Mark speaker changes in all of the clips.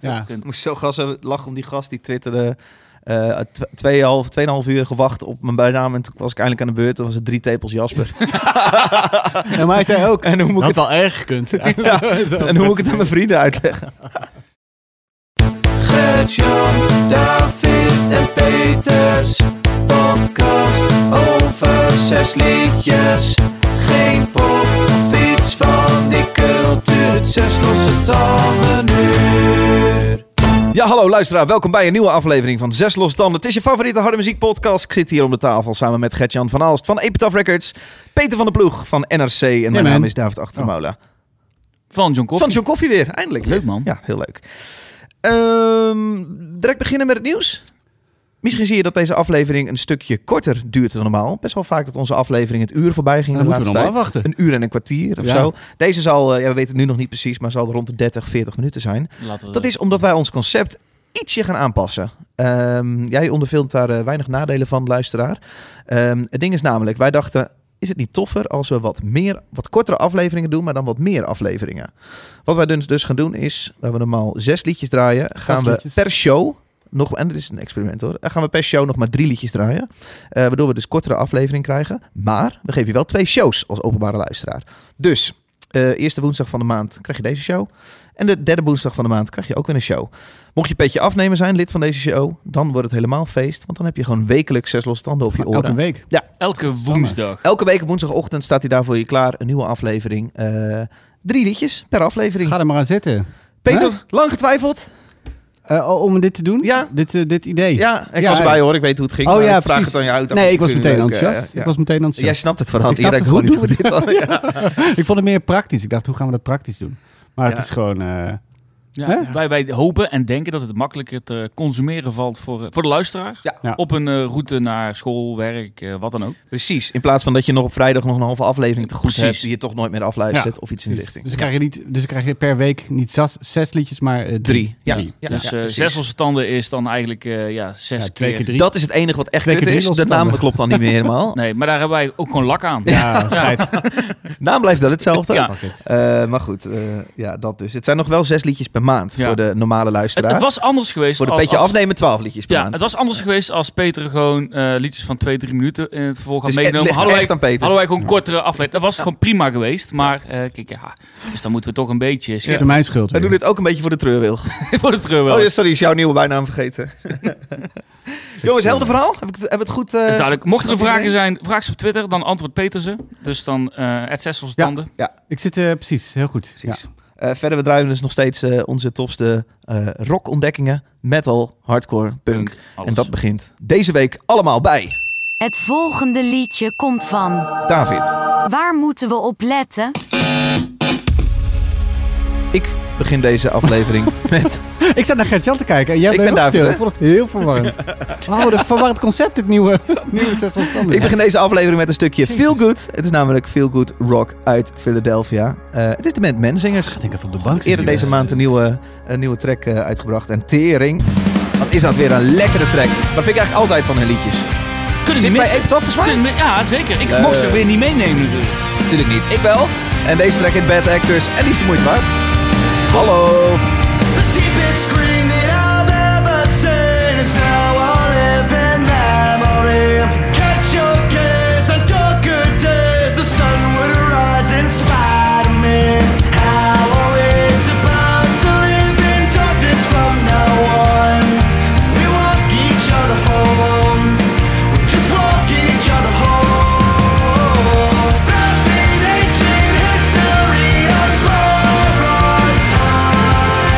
Speaker 1: Ja.
Speaker 2: Ik
Speaker 3: moest zo gassen lachen om die gast die twitterde. eh tw- tweeënhalf, tweeënhalf uur gewacht op mijn bijnaam. En toen was ik eindelijk aan de beurt. Toen was het drie tepels Jasper.
Speaker 1: Ja, maar hij zei ook,
Speaker 3: en hoe moet ik
Speaker 1: had
Speaker 3: het,
Speaker 1: wel erg gekund.
Speaker 3: Ja, en hoe moet ik het aan mijn vrienden uitleggen? Gert-Jan, David en Peters. Podcast over zes liedjes. Geen pop, fiets van die cultuur. Zes losse tanden Ja, hallo luisteraar. Welkom bij een nieuwe aflevering van Zes Losse Tanden. Het is je favoriete harde muziek podcast. Ik zit hier om de tafel samen met Gert-Jan van Aalst van Epitaph Records. Peter van de Ploeg van NRC. En mijn
Speaker 1: man.
Speaker 3: naam is David Achtermola.
Speaker 2: Van John Koffie.
Speaker 3: Van John Koffie weer, eindelijk.
Speaker 2: Leuk, man.
Speaker 3: Ja, heel leuk. Ehm, direct beginnen met het nieuws. Misschien zie je dat deze aflevering een stukje korter duurt dan normaal. Best wel vaak dat onze aflevering het uur voorbij ging
Speaker 1: Dan
Speaker 3: de
Speaker 1: moeten we
Speaker 3: laatste
Speaker 1: nog
Speaker 3: tijd.
Speaker 1: maar afwachten.
Speaker 3: Een uur en een kwartier of
Speaker 1: Ja.
Speaker 3: zo. Deze zal, eh, ja, we weten het nu nog niet precies, maar zal rond de 30, 40 minuten zijn.
Speaker 2: Laten we
Speaker 3: Dat is omdat wij ons concept ietsje gaan aanpassen. Ehm, jij ondervindt daar eh, weinig nadelen van, luisteraar. Ehm, het ding is namelijk, wij dachten... Is het niet toffer als we wat, meer, wat kortere afleveringen doen, maar dan wat meer afleveringen? Wat wij dus, dus gaan doen is, waar we normaal zes liedjes draaien, gaan we
Speaker 1: liedjes.
Speaker 3: per show nog, en dit is een experiment hoor, eh, gaan we per show nog maar drie liedjes draaien. eh, waardoor we dus kortere aflevering krijgen. Maar we geven je wel twee shows als openbare luisteraar. Dus, eh, eerste woensdag van de maand krijg je deze show. En de derde woensdag van de maand krijg je ook weer een show. Mocht je petje afnemen zijn, lid van deze show, dan wordt het helemaal feest. Want dan heb je gewoon wekelijks zes losse tanden op je
Speaker 1: Elke
Speaker 3: oren.
Speaker 1: week.
Speaker 2: elke woensdag.
Speaker 3: Elke week op woensdagochtend staat hij daar voor je klaar. Een nieuwe aflevering. Eh, drie liedjes per aflevering.
Speaker 1: Ga er maar aan zitten.
Speaker 3: Peter,
Speaker 1: Huh?
Speaker 3: lang getwijfeld?
Speaker 1: Eh, om dit te doen?
Speaker 3: Ja.
Speaker 1: Dit, eh, dit idee?
Speaker 3: Ja, ik
Speaker 1: Ja,
Speaker 3: was
Speaker 1: ja.
Speaker 3: bij hoor. Ik weet hoe het ging.
Speaker 1: Oh
Speaker 3: maar
Speaker 1: ja,
Speaker 3: ik vraag
Speaker 1: precies.
Speaker 3: het aan jou. dacht,
Speaker 1: Nee, ik was
Speaker 3: misschien
Speaker 1: meteen
Speaker 3: leuk, eh,
Speaker 1: enthousiast.
Speaker 3: ja.
Speaker 1: Ik was meteen
Speaker 3: Jij
Speaker 1: enthousiast.
Speaker 3: snapt het voorhand.
Speaker 1: Ik snap
Speaker 3: Je denkt,
Speaker 1: het
Speaker 3: hoe doen
Speaker 1: gewoon
Speaker 3: we dit dan? Ja.
Speaker 1: Ik vond het meer praktisch. Ik dacht, hoe gaan we dat praktisch doen? Maar
Speaker 3: Ja.
Speaker 1: het is gewoon... eh,
Speaker 2: Ja,
Speaker 1: Hè?
Speaker 2: wij, wij hopen en denken dat het makkelijker te consumeren valt voor, eh, voor de luisteraar.
Speaker 3: Ja.
Speaker 1: Ja.
Speaker 2: Op een eh, route naar school, werk, eh, wat dan ook.
Speaker 3: Precies. In plaats van dat je nog op vrijdag nog een halve aflevering te goed
Speaker 2: Precies.
Speaker 3: hebt... die je toch nooit meer afluistert
Speaker 1: Ja.
Speaker 3: of iets in de
Speaker 1: dus,
Speaker 3: richting.
Speaker 1: dus dan krijg je niet, dus dan krijg je per week niet zes, zes liedjes, maar eh,
Speaker 3: Drie. Ja.
Speaker 1: Drie.
Speaker 3: Ja.
Speaker 2: dus eh
Speaker 3: precies.
Speaker 2: zes losse tanden is dan eigenlijk eh, ja, zes
Speaker 1: Ja, twee keer drie.
Speaker 3: Dat is het enige wat echt
Speaker 1: Twee
Speaker 3: kut
Speaker 1: keer
Speaker 3: is.
Speaker 1: drie
Speaker 3: De naam
Speaker 1: losstanden.
Speaker 3: klopt dan niet meer helemaal.
Speaker 2: Nee, maar daar hebben wij ook gewoon lak aan.
Speaker 1: Ja, schijt.
Speaker 3: Naam blijft wel hetzelfde.
Speaker 2: Ja.
Speaker 1: Fuck it.
Speaker 3: Eh, maar goed, eh, ja, dat dus. Het zijn nog wel zes liedjes per maand
Speaker 2: Ja.
Speaker 3: voor de normale
Speaker 2: Het,
Speaker 3: luisteraar.
Speaker 2: het was anders geweest.
Speaker 3: voor de
Speaker 2: als-
Speaker 3: petje
Speaker 2: als-
Speaker 3: afnemen, twaalf liedjes per
Speaker 2: Ja,
Speaker 3: maand.
Speaker 2: het was anders geweest als Peter gewoon eh, liedjes van twee, drie minuten in het vervolg had
Speaker 3: Dus het
Speaker 2: meegenomen.
Speaker 3: ligt
Speaker 2: Hadden wij,
Speaker 3: echt aan Peter.
Speaker 2: hadden wij gewoon kortere aflevering. Dat was gewoon prima geweest. Maar eh, kijk, ja. Dus dan moeten we toch een beetje
Speaker 1: Het is
Speaker 2: schieten
Speaker 1: mijn schuld.
Speaker 3: Wij
Speaker 1: weer.
Speaker 3: doen dit ook een beetje voor de treurwil.
Speaker 2: voor de treurwel.
Speaker 3: Oh, ja, sorry, is jouw nieuwe bijnaam vergeten. Jongens, helder verhaal? Heb ik het, heb ik het goed? eh,
Speaker 2: Dus duidelijk, mochten er
Speaker 3: snap
Speaker 2: vragen
Speaker 3: iedereen?
Speaker 2: zijn, vraag ze op Twitter, dan antwoordt Peter ze. Dus dan eh het zes losse tanden.
Speaker 1: Ik zit eh, precies, heel goed.
Speaker 3: Precies.
Speaker 1: Ja.
Speaker 3: Eh, verder, we draaien dus nog steeds eh, onze tofste eh rockontdekkingen. Metal, hardcore, punk.
Speaker 2: Alles.
Speaker 3: En dat begint deze week allemaal bij
Speaker 4: Het volgende liedje komt van.
Speaker 3: David.
Speaker 4: Waar moeten we op letten?
Speaker 3: Ik begin deze aflevering met...
Speaker 1: Ik zat naar Gert-Jan te kijken en jij
Speaker 3: Ik
Speaker 1: bleef
Speaker 3: ben
Speaker 1: ook
Speaker 3: David,
Speaker 1: stil.
Speaker 3: hè?
Speaker 1: Ik vond het heel verwarrend. Oh, dat verwarrend concept, het nieuwe, nieuwe zes van Standen.
Speaker 3: Ik begin deze aflevering met een stukje
Speaker 1: Jezus.
Speaker 3: Feel Good. Het is namelijk Feel Good Rock uit Philadelphia. Eh, het is de band Menzingers.
Speaker 1: denk even op de bank
Speaker 3: Eerder deze maand een nieuwe, een nieuwe track eh, uitgebracht. En Tering. Wat is dat weer een lekkere track. Maar vind ik eigenlijk altijd van hun liedjes.
Speaker 2: Kunnen ze
Speaker 3: Zit bij
Speaker 2: missen?
Speaker 3: Epitaph volgens mij?
Speaker 2: Kunnen we- ja, zeker. Ik
Speaker 3: Eh.
Speaker 2: mocht ze weer niet meenemen natuurlijk.
Speaker 3: Natuurlijk niet. Ik wel. En deze track heet Bad Actors. En die is de moeite waard. Hallo.
Speaker 5: Nothing
Speaker 6: Oh,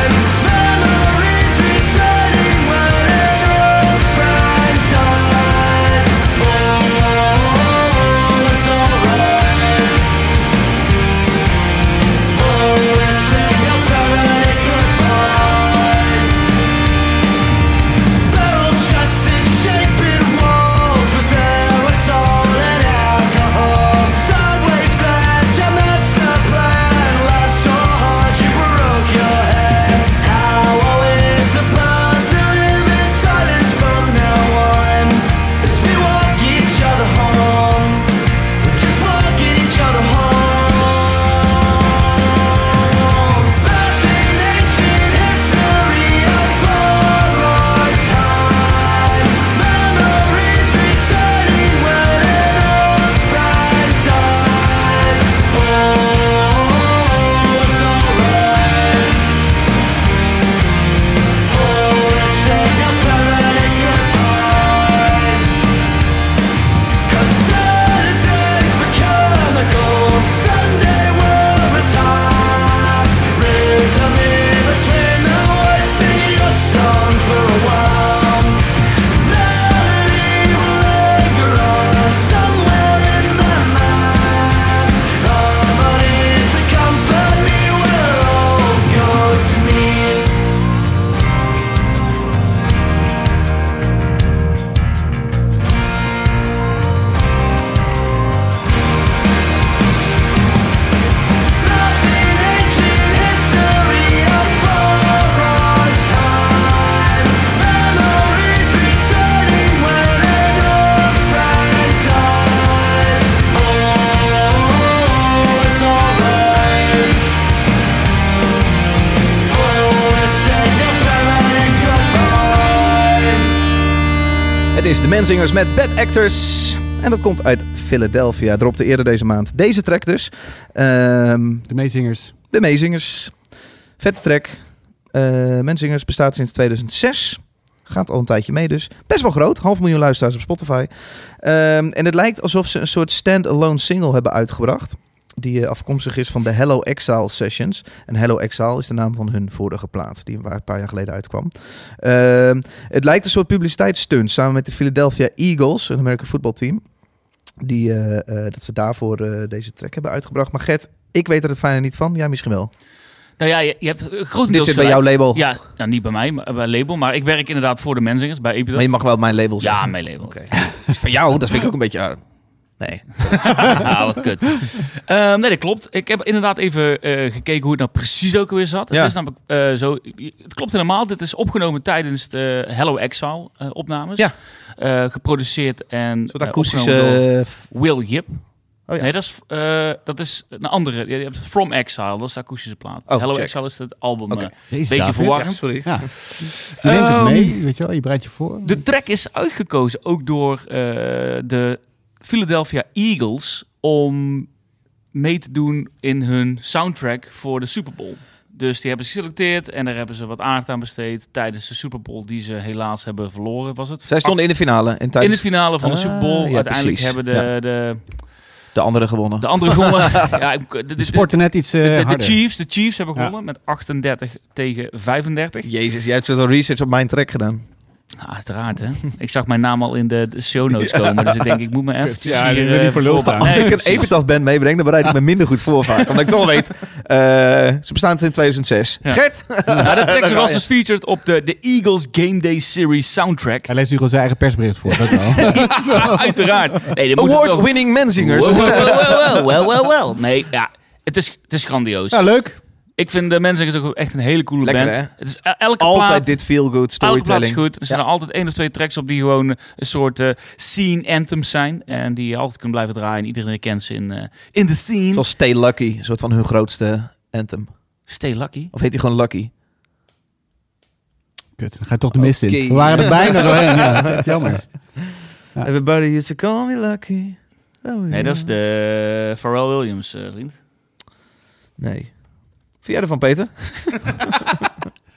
Speaker 5: ancient history unborrowed time
Speaker 6: Oh,
Speaker 3: Het is de Menzingers met Bad Actors. En dat komt uit Philadelphia. Dropte eerder deze maand deze track dus. Ehm,
Speaker 1: De meezingers.
Speaker 3: de Meezingers. Vette track. Eh Menzingers bestaat sinds 2006. Gaat al een tijdje mee dus. Best wel groot. Half miljoen luisteraars op Spotify. Ehm, en het lijkt alsof ze een soort stand-alone single hebben uitgebracht. Die eh, afkomstig is van de Hello Exile Sessions. En Hello Exile is de naam van hun vorige plaat. Die waar een paar jaar geleden uitkwam. Ehm, het lijkt een soort publiciteitsstunt. Samen met de Philadelphia Eagles. Een American voetbalteam. Die, eh, eh, dat ze daarvoor eh, deze track hebben uitgebracht. Maar Gert, ik weet er het fijne niet van. Jij misschien wel.
Speaker 2: Nou ja, je, je hebt eh, grotendeels
Speaker 3: Dit zit bij
Speaker 2: gelijk.
Speaker 3: jouw label.
Speaker 2: Ja, nou, niet bij mij, maar bij label. Maar ik werk inderdaad voor de Menzingers bij Epidot.
Speaker 3: Maar je mag wel mijn label
Speaker 2: Ja,
Speaker 3: zeggen.
Speaker 2: mijn label.
Speaker 3: Oké. Is van jou, dat vind ik ook een beetje arm. Nee.
Speaker 2: nou, wat kut. Ehm, nee, dat klopt. Ik heb inderdaad even eh, gekeken hoe het nou precies ook weer zat.
Speaker 3: Ja.
Speaker 2: Het is namelijk eh, zo... Het klopt helemaal. Dit is opgenomen tijdens de Hello Exile eh, opnames.
Speaker 3: Ja.
Speaker 2: Eh, geproduceerd en
Speaker 3: Een soort
Speaker 2: eh,
Speaker 3: akoestische...
Speaker 2: opgenomen door
Speaker 3: eh, f-
Speaker 2: Will Yip.
Speaker 3: Oh ja.
Speaker 2: Nee, dat is, eh, dat is een andere. Je hebt From Exile, dat is de akoestische plaat.
Speaker 3: Oh,
Speaker 2: Hello
Speaker 3: check.
Speaker 2: Exile is het album.
Speaker 3: Oké.
Speaker 2: eh.
Speaker 1: Jezus,
Speaker 2: beetje
Speaker 1: David.
Speaker 2: verwarrend.
Speaker 3: ja, sorry.
Speaker 1: Ja. Je neemt het
Speaker 2: Ehm,
Speaker 1: mee, weet je wel. Je bereidt je voor.
Speaker 2: De track is uitgekozen ook door eh, de Philadelphia Eagles om mee te doen in hun soundtrack voor de Super Bowl. Dus die hebben ze geselecteerd en daar hebben ze wat aandacht aan besteed tijdens de Super Bowl die ze helaas hebben verloren, was het? Ah,
Speaker 3: Zij stonden in de finale. En
Speaker 2: in
Speaker 3: tijdens
Speaker 2: het finale van de
Speaker 3: Ah,
Speaker 2: Super Bowl.
Speaker 3: ja,
Speaker 2: Uiteindelijk
Speaker 3: precies.
Speaker 2: hebben de,
Speaker 3: Ja.
Speaker 2: de,
Speaker 3: de andere gewonnen.
Speaker 2: de andere gewonnen. ja, ik- de, de-
Speaker 1: De sporten net iets eh
Speaker 2: de- de- de
Speaker 1: harder.
Speaker 2: Chiefs, de Chiefs hebben
Speaker 1: Ja.
Speaker 2: gewonnen met 38 tegen 35.
Speaker 3: Jezus, jij hebt zo'n research op mijn track gedaan.
Speaker 2: Nou, uiteraard, hè. Ik zag mijn naam al in de, de show notes komen, dus ik denk, ik moet me even
Speaker 1: Ja, die
Speaker 2: hier...
Speaker 1: wil
Speaker 2: eh,
Speaker 1: niet voor lul
Speaker 2: voorbereiden.
Speaker 3: Als
Speaker 2: Nee,
Speaker 3: ik een
Speaker 2: precies.
Speaker 3: epitaph band meebreng, dan bereid ik me minder goed voor vaak. Omdat ik toch weet, eh, ze bestaan sinds 2006.
Speaker 2: Ja.
Speaker 3: Gert?
Speaker 2: Nou, de track
Speaker 3: ga
Speaker 2: was
Speaker 3: je.
Speaker 2: dus featured op de, de Eagles Game Day Series soundtrack.
Speaker 1: Hij leest nu gewoon zijn eigen persbericht voor. Dat wel.
Speaker 2: Uiteraard. Nee, dit moet het wel-
Speaker 3: Award-winning menzingers.
Speaker 2: Wel, wel, wel, wel, wel, wel, wel. Nee, ja. Het is, het is grandioos.
Speaker 1: ja, leuk.
Speaker 2: ik vind de mensen ook echt een hele coole
Speaker 3: Lekker,
Speaker 2: band.
Speaker 3: hè?
Speaker 2: Het is el- elke
Speaker 3: Altijd
Speaker 2: plaat,
Speaker 3: dit feel-good
Speaker 2: elke plaat is
Speaker 3: storytelling.
Speaker 2: goed. Er zijn altijd één of twee tracks op die gewoon een soort eh, scene anthems zijn. En die je altijd kunt blijven draaien. Iedereen kent ze in, eh, in de scene.
Speaker 3: Zoals Stay Lucky, een soort van hun grootste anthem.
Speaker 2: Stay Lucky.
Speaker 3: Of heet hij gewoon Lucky?
Speaker 1: Kut, dan ga je toch de mist
Speaker 3: Oké.
Speaker 1: in. We waren er bijna doorheen. Ja, dat is echt jammer. Ja.
Speaker 3: Everybody used to call me Lucky. Oh,
Speaker 2: Nee,
Speaker 3: yeah.
Speaker 2: dat is de Pharrell Williams, eh, vriend.
Speaker 3: Nee. Vind jij ervan, Peter?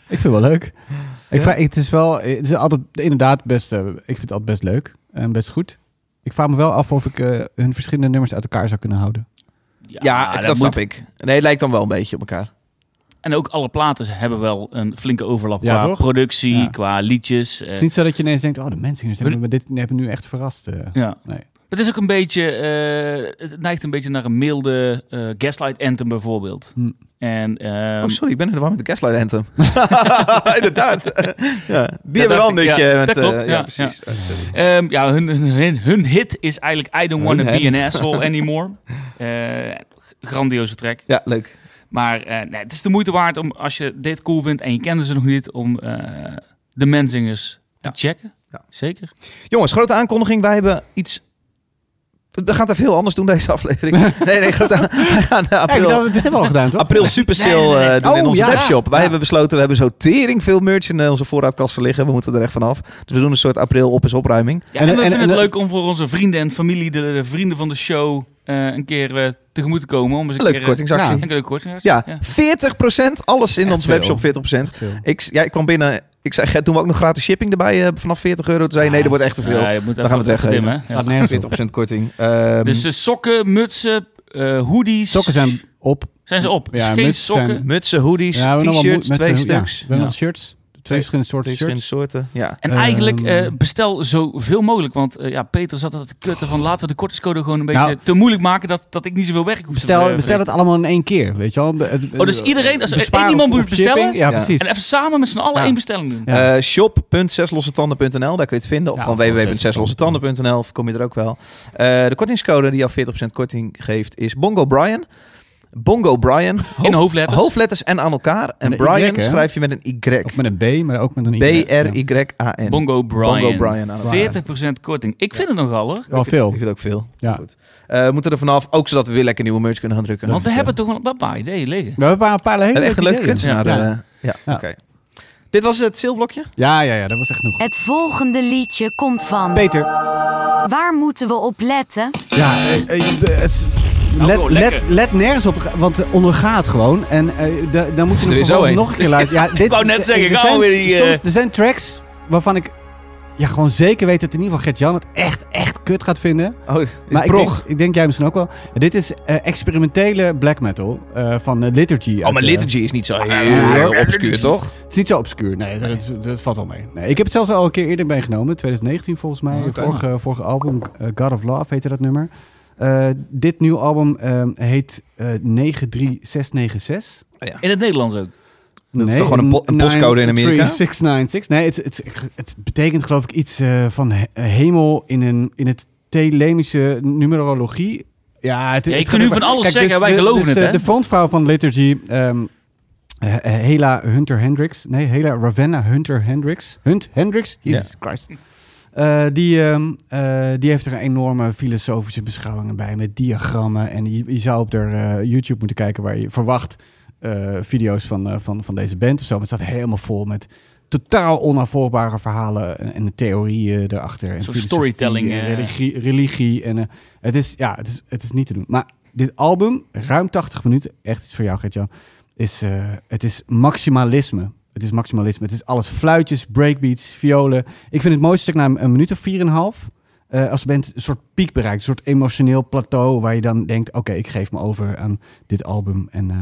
Speaker 1: Ik vind het wel leuk.
Speaker 3: Ja?
Speaker 1: Ik vraag, het is wel, het is altijd inderdaad best, eh, ik vind het altijd best leuk en best goed. Ik vraag me wel af of ik eh, hun verschillende nummers uit elkaar zou kunnen houden.
Speaker 2: Ja,
Speaker 3: ik. Nee, het lijkt dan wel een beetje op elkaar.
Speaker 2: En ook alle platen hebben wel een flinke overlap
Speaker 1: Ja,
Speaker 2: qua
Speaker 1: toch?
Speaker 2: productie,
Speaker 1: Ja.
Speaker 2: qua liedjes. eh.
Speaker 1: Het is niet zo dat je ineens denkt, oh de mensen hebben me, dit hebben me nu echt verrast. eh.
Speaker 2: ja.
Speaker 1: Nee.
Speaker 2: Het is ook een beetje, eh, het neigt een beetje naar een milde eh, Gaslight Anthem bijvoorbeeld.
Speaker 1: Hm.
Speaker 2: En ehm,
Speaker 3: oh, sorry, ik ben in de war met de Gaslight Anthem. Inderdaad. ja, die hebben wel
Speaker 2: dacht
Speaker 3: een
Speaker 2: ik,
Speaker 3: nutje.
Speaker 2: ja.
Speaker 3: met,
Speaker 2: Dat
Speaker 3: eh,
Speaker 2: klopt,
Speaker 3: ja,
Speaker 2: ja,
Speaker 3: precies. Oh, sorry.
Speaker 2: ehm, ja, hun, hun, hun hit is eigenlijk I Don't
Speaker 3: Hun,
Speaker 2: Wanna Be
Speaker 3: hè?
Speaker 2: An Asshole Anymore. Eh, grandioze track.
Speaker 3: Ja, leuk.
Speaker 2: Maar eh, nee, het is de moeite waard om, als je dit cool vindt en je kende ze nog niet, om eh, de Menzingers te checken.
Speaker 3: Ja.
Speaker 2: Zeker.
Speaker 3: Jongens, grote aankondiging. Wij hebben iets... We gaan het even heel anders doen, deze aflevering. nee, nee, grote aan... We gaan eh,
Speaker 1: Kijk,
Speaker 3: april...
Speaker 1: dat, dit hebben we al gedaan toch?
Speaker 3: April Super Sale
Speaker 2: Nee, nee, nee.
Speaker 3: eh, doen in
Speaker 1: Oh,
Speaker 3: onze
Speaker 1: ja.
Speaker 3: webshop. Wij
Speaker 1: Ja.
Speaker 3: hebben besloten, we hebben zo tering veel merch in eh, onze voorraadkasten liggen. We moeten er echt vanaf. Dus we doen een soort april op is opruiming.
Speaker 2: Ja,
Speaker 1: En-
Speaker 2: en, we
Speaker 1: en-
Speaker 2: vinden
Speaker 1: en-
Speaker 2: het leuk om voor onze vrienden en familie, de, de vrienden van de show, eh, een keer eh, tegemoet te komen. Om eens een
Speaker 3: Leuke
Speaker 2: keer, eh,
Speaker 3: kortingsactie.
Speaker 2: Een leuke korting.
Speaker 3: Ja, 40%. Alles in
Speaker 1: Echt
Speaker 3: ons
Speaker 1: veel.
Speaker 3: webshop 40%.
Speaker 1: Echt veel.
Speaker 3: Ik, ja, ik kwam binnen. Ik zei, Gert, doen we ook nog gratis shipping erbij eh, vanaf 40 euro? Toen zei je, nee, dat wordt echt te veel.
Speaker 2: Ja, je moet
Speaker 3: Dan gaan we het
Speaker 2: even
Speaker 3: weggeven.
Speaker 2: dimmen, hè.
Speaker 1: Gaat nergens op.
Speaker 3: 40% korting. Ehm,
Speaker 2: Dus eh, sokken, mutsen, eh, hoodies.
Speaker 1: Sokken zijn op.
Speaker 2: Zijn ze op?
Speaker 1: Ja,
Speaker 2: Geen
Speaker 1: mutsen
Speaker 2: sokken.
Speaker 1: zijn-
Speaker 3: mutsen, hoodies,
Speaker 1: Ja, we hebben nog wel
Speaker 3: t-shirts,
Speaker 1: met-
Speaker 3: twee
Speaker 1: met- ja,
Speaker 3: stuks.
Speaker 1: we hebben
Speaker 2: Ja.
Speaker 1: nog shirts. Twee verschillende soorten
Speaker 3: Twee
Speaker 1: shirts.
Speaker 3: verschillende soorten. Ja.
Speaker 2: En
Speaker 1: Ehm.
Speaker 2: eigenlijk eh, bestel zoveel mogelijk. Want eh, ja, Peter zat altijd te kutten van laten we de kortingscode gewoon een beetje
Speaker 1: Nou.
Speaker 2: te moeilijk maken. Dat, dat ik niet zoveel werk hoef te
Speaker 1: Bestel,
Speaker 2: eh,
Speaker 1: bestel het allemaal in één keer, weet je wel. De- het-
Speaker 2: Oh, dus iedereen- als er
Speaker 1: bespaar
Speaker 2: één iemand
Speaker 1: op-
Speaker 2: moet
Speaker 1: op shipping.
Speaker 2: bestellen-
Speaker 1: Ja,
Speaker 3: Ja.
Speaker 1: precies.
Speaker 2: En even samen met z'n allen
Speaker 1: Ja.
Speaker 2: één bestelling doen.
Speaker 1: Ja.
Speaker 3: Eh, Shop.zeslossetanden.nl, daar kun je het vinden. Of
Speaker 1: Ja,
Speaker 3: gewoon
Speaker 1: of
Speaker 3: www.zeslossetanden.nl, of kom je er ook wel. Eh, de kortingscode die al 40% korting geeft is Bongo Brian. Bongo Brian.
Speaker 2: In
Speaker 3: Hoofd-
Speaker 2: hoofdletters.
Speaker 3: hoofdletters en aan elkaar. En
Speaker 1: Met een Y,
Speaker 3: Brian
Speaker 1: hè?
Speaker 3: schrijf je met een Y.
Speaker 1: Of met een B, maar ook met een I. Ja.
Speaker 3: B-R-Y-A-N.
Speaker 2: Bongo Brian.
Speaker 3: Bongo Brian aan elkaar.
Speaker 2: 40% korting. Ik vind het nogal hoor.
Speaker 1: Wel
Speaker 3: Ik vind-
Speaker 1: Oh, veel.
Speaker 3: Ik vind ook veel.
Speaker 1: Ja.
Speaker 3: Goed. Eh, we moeten er vanaf, ook zodat we weer lekker nieuwe merch kunnen gaan drukken.
Speaker 2: Want we
Speaker 3: Dus,
Speaker 1: eh,
Speaker 2: hebben toch wel een paar ideeën liggen.
Speaker 1: We hebben een paar hele
Speaker 3: eh, we hebben
Speaker 1: leuke
Speaker 3: echt een leuke
Speaker 1: ideeën.
Speaker 3: kunstenaar.
Speaker 1: Ja.
Speaker 3: eh, Ja, oké.
Speaker 1: Ja.
Speaker 3: Dit was het zilblokje.
Speaker 1: Ja, ja, ja, dat was echt genoeg.
Speaker 4: Het volgende liedje komt van.
Speaker 1: Peter.
Speaker 4: Waar moeten we op letten?
Speaker 1: Ja, eh, eh, eh, het is- let,
Speaker 2: Oh, lekker.
Speaker 1: let, let nergens op, want eh, ondergaat gewoon. En eh, da- dan moet je
Speaker 3: er weer
Speaker 1: er
Speaker 3: zo
Speaker 1: vervolgens
Speaker 3: heen.
Speaker 1: nog een keer luisteren. Ja, dit,
Speaker 2: wou net
Speaker 1: eh,
Speaker 2: zeggen,
Speaker 1: er
Speaker 2: gaan
Speaker 1: zijn
Speaker 2: we weer die,
Speaker 1: soms-
Speaker 2: eh.
Speaker 1: Er zijn tracks waarvan ik ja, gewoon zeker weet dat in ieder geval Gert-Jan het echt, echt kut gaat vinden.
Speaker 3: Oh, is
Speaker 1: Maar ik
Speaker 3: prog.
Speaker 1: denk, ik denk jij misschien ook wel. Ja, dit is eh, experimentele black metal eh, van eh, Liturgy.
Speaker 3: Oh,
Speaker 1: uit,
Speaker 3: maar
Speaker 1: eh,
Speaker 3: Liturgy is niet zo heel eh, obscuur, toch?
Speaker 1: Het is niet zo obscuur. Nee, dat, is- dat valt al mee. Nee, ik heb het zelfs al een keer eerder meegenomen. 2019 volgens mij.
Speaker 3: Oh, Oké.
Speaker 1: Vorige, vorige album, eh, God of Love heette dat nummer. Eh, dit nieuwe album eh, heet eh 93696.
Speaker 2: In het Nederlands ook.
Speaker 3: Dat is toch gewoon een po- een postcode in Amerika?
Speaker 1: 3696. Nee, het, het, het betekent geloof ik iets eh, van he- hemel in, een, in het telemische numerologie. Ja, het,
Speaker 2: Ja, je kunt
Speaker 1: het gaat
Speaker 2: nu
Speaker 1: over-
Speaker 2: van alles zeggen, wij
Speaker 1: de-
Speaker 2: geloven
Speaker 1: dus,
Speaker 2: het,
Speaker 1: eh,
Speaker 2: hè?
Speaker 1: De frontvrouw van Liturgy, ehm, eh, eh, Hela Hunter Hendricks. Nee, Hela Ravenna Hunter Hendricks. Hunt Hendricks? Jesus Christ. Eh, die, ehm, eh, die heeft er een enorme filosofische beschouwingen bij met diagrammen. En je, je zou op haar eh, YouTube moeten kijken waar je verwacht eh, video's van, eh, van, van deze band of zo. Maar het staat helemaal vol met totaal onafvolgbare verhalen en, en theorieën erachter. En
Speaker 2: Zo'n
Speaker 1: filosofie
Speaker 2: storytelling,
Speaker 1: En
Speaker 2: eh.
Speaker 1: religie. religie en, eh, het, is, ja, het, is, het is niet te doen. Maar dit album, ruim 80 minuten, echt iets voor jou Gert-Jan, is, eh, het is maximalisme. Het is maximalisme. Het is alles fluitjes, breakbeats, violen. Ik vind het mooiste stuk na een, een minuut of vier en een half. eh, als de band een soort piek bereikt, een soort emotioneel plateau waar je dan denkt, oké, ik geef me over aan dit album en eh,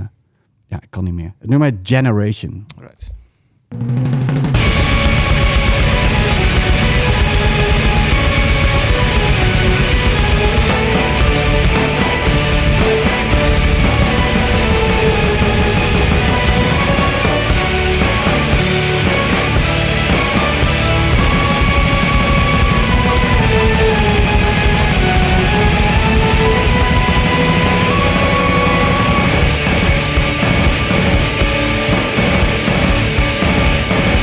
Speaker 1: ja, ik kan niet meer. Het nummer heet Generation.
Speaker 5: Generation.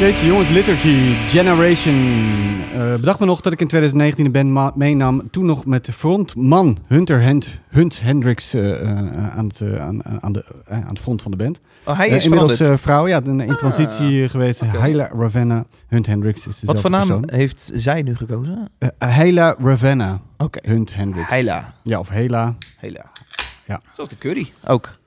Speaker 1: Deze jongens, Liturgy Generation. Eh, bedacht me nog dat ik in 2019 de band ma- meenam. Toen nog met frontman Hunter Hand, Hunt Hendricks eh, eh, aan, het, eh, aan, aan, de, eh, aan het front van de band.
Speaker 3: Oh, hij
Speaker 1: Eh,
Speaker 3: is
Speaker 1: inmiddels
Speaker 3: veranderd. Ah,
Speaker 1: eh, vrouw, ja, in, in transitie eh, geweest.
Speaker 3: oké.
Speaker 1: Hela Ravenna, Hunt Hendricks is
Speaker 3: eh, Wat
Speaker 1: dezelfde
Speaker 3: voor naam
Speaker 1: persoon.
Speaker 3: heeft zij nu gekozen?
Speaker 1: Eh, Hela Ravenna,
Speaker 3: Oké.
Speaker 1: Hunt Hendricks.
Speaker 3: Hela.
Speaker 1: Ja, of Hela.
Speaker 3: Hela.
Speaker 1: Ja.
Speaker 3: Zoals de curry. Ook.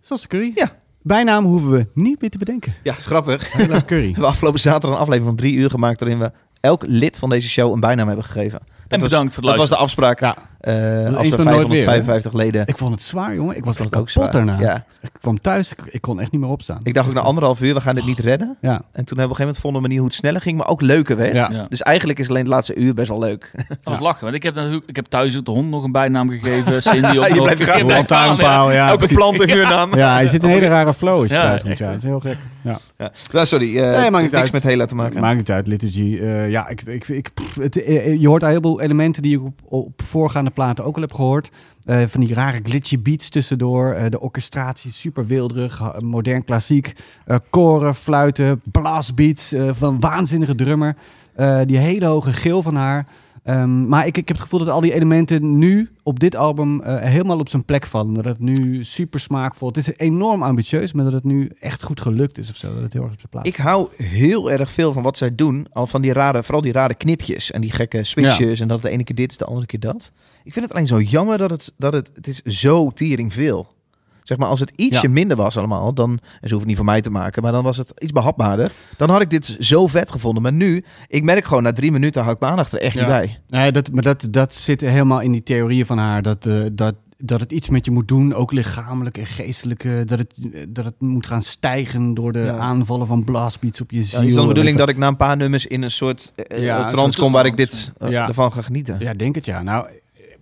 Speaker 1: Zoals de curry.
Speaker 3: Ja.
Speaker 1: Bijnaam hoeven we niet meer te bedenken.
Speaker 3: Ja, is grappig. We
Speaker 1: Hela Curry.
Speaker 3: hebben afgelopen zaterdag een aflevering van drie uur gemaakt... waarin we elk lid van deze show een bijnaam hebben gegeven. Dat
Speaker 2: En
Speaker 3: was,
Speaker 2: bedankt voor het
Speaker 3: Dat was de
Speaker 2: luisteren.
Speaker 3: afspraak.
Speaker 1: Ja.
Speaker 3: Eh,
Speaker 1: Dat
Speaker 3: als
Speaker 1: is
Speaker 3: we
Speaker 1: er nooit weer, hè?
Speaker 3: 555 leden...
Speaker 1: ik vond het zwaar, jongen. Ik was
Speaker 3: Dat
Speaker 1: er
Speaker 3: vond ik
Speaker 1: kapot
Speaker 3: ook zwaar.
Speaker 1: daarna.
Speaker 3: Ja.
Speaker 1: Ik kwam thuis, ik, ik kon echt niet meer opstaan.
Speaker 3: Ik dacht ook na anderhalf uur, we gaan dit niet redden.
Speaker 1: ja.
Speaker 3: En toen hebben we op een gegeven moment vonden we een manier hoe het sneller ging, maar ook leuker werd.
Speaker 1: Ja.
Speaker 2: Ja.
Speaker 3: Dus eigenlijk is alleen het laatste uur best wel leuk.
Speaker 2: Dat was lachen, want ik heb, natuurlijk- ik heb thuis ook de hond nog een bijnaam gegeven. Cindy ook
Speaker 3: Je
Speaker 2: nog.
Speaker 3: blijft
Speaker 2: Ik
Speaker 3: gaan.
Speaker 2: blijf gaan,
Speaker 1: Lantaarnpaal, ja.
Speaker 3: ook Oh, een
Speaker 1: precies.
Speaker 3: plant heeft nu een naam.
Speaker 1: Ja, je zit in een hele rare flow als je
Speaker 2: Ja,
Speaker 1: thuis moet.
Speaker 2: echt,
Speaker 1: Ja,
Speaker 2: hè?
Speaker 1: dat is heel gek. Ja.
Speaker 3: Ja. Nou, sorry, eh
Speaker 1: maakt niet
Speaker 3: heeft niks
Speaker 1: uit.
Speaker 3: met Hela te maken.
Speaker 1: Maakt niet uit, liturgy. Eh, ja, ik, ik, ik, pff, het, eh, eh, je hoort een heleboel elementen die ik op, op voorgaande platen ook al heb gehoord. Eh, van die rare glitchy beats tussendoor. eh, de orchestratie, super wilderig, ha- modern klassiek. eh, koren, fluiten, blastbeats eh, van een waanzinnige drummer. Eh, die hele hoge geel van haar. Ehm, maar ik, ik heb het gevoel dat al die elementen nu op dit album eh, helemaal op zijn plek vallen. Dat het nu super smaakvol Het is enorm ambitieus, maar dat het nu echt goed gelukt is of zo. Dat het heel erg op zijn plaats
Speaker 3: Ik hou heel erg veel van wat zij doen. Al van die rare, vooral die rare knipjes en die gekke switches. En dat de ene keer dit is, de andere keer dat. Ik vind het alleen zo jammer dat het, dat het, het is zo tering veel. Zeg maar, als het ietsje
Speaker 1: Ja.
Speaker 3: minder was allemaal, dan, en ze hoeven het niet van mij te maken, maar dan was het iets behapbaarder. Dan had ik dit zo vet gevonden. Maar nu, ik merk gewoon, na drie minuten hou ik mijn aandacht er echt niet
Speaker 2: Ja.
Speaker 3: bij.
Speaker 1: Nee, dat, maar dat, dat zit helemaal in die theorieën van haar. Dat, eh, dat, dat het iets met je moet doen, ook lichamelijk en geestelijk. eh, dat, het, eh, dat het moet gaan stijgen door de
Speaker 3: Ja.
Speaker 1: aanvallen van blastbeats op je ziel.
Speaker 3: Ja, is dan de bedoeling
Speaker 1: Even-
Speaker 3: dat ik na een paar nummers in een soort eh,
Speaker 1: Ja,
Speaker 3: eh,
Speaker 1: een
Speaker 3: trance
Speaker 1: soort
Speaker 3: kom waar ik
Speaker 2: trance.
Speaker 3: dit eh,
Speaker 1: Ja.
Speaker 3: ervan ga genieten?
Speaker 1: Ja, denk het ja. Nou, eh,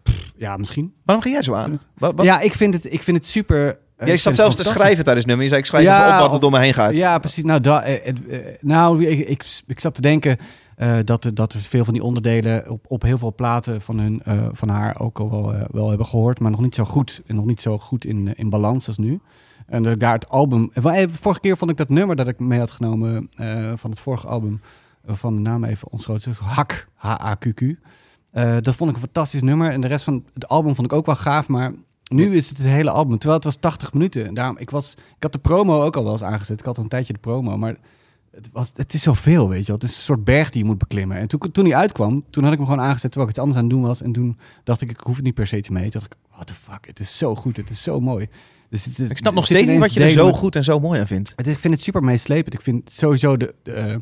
Speaker 1: pff, ja, misschien.
Speaker 3: Waarom ging jij zo aan? Wat, wat?
Speaker 1: Ja, ik vind het, ik vind het super... eh,
Speaker 3: jij
Speaker 1: ik
Speaker 3: zat
Speaker 1: vind
Speaker 3: zelfs
Speaker 1: het
Speaker 3: te
Speaker 1: fantastisch.
Speaker 3: schrijven tijdens het nummer. Je zei, ik schrijf
Speaker 1: Ja,
Speaker 3: even op wat er
Speaker 1: op-
Speaker 3: door me heen gaat.
Speaker 1: Ja, precies. Nou, da- eh, het, eh, nou ik, ik, ik zat te denken eh, dat, er- dat er veel van die onderdelen op, op heel veel platen van, hun, eh, van haar ook al wel, eh, wel hebben gehoord. Maar nog niet zo goed. En nog niet zo goed in, eh, in balans als nu. En dat ik daar het album... eh, wel, eh, Vorige keer vond ik dat nummer dat ik mee had genomen eh, van het vorige album. eh, van de naam even ontschoten. Dus Hak. H-A-Q-Q. Eh, dat vond ik een fantastisch nummer. En de rest van het album vond ik ook wel gaaf. Maar nu is het het hele album. Terwijl het was 80 minuten. En daarom, ik, was, ik had de promo ook al wel eens aangezet. Ik had al een tijdje de promo. Maar het, was, het is zoveel, weet je wel. Het is een soort berg die je moet beklimmen. En toen, toen die uitkwam, toen had ik hem gewoon aangezet... terwijl ik iets anders aan het doen was. En toen dacht ik, ik hoef het niet per se iets mee. Toen dacht ik, what the fuck, het is zo goed. Het is zo mooi. Dus het,
Speaker 3: Ik snap nog steeds niet wat je er zo goed en zo mooi aan vindt.
Speaker 1: Ik vind het super meeslepend. Ik vind sowieso de... de, eh,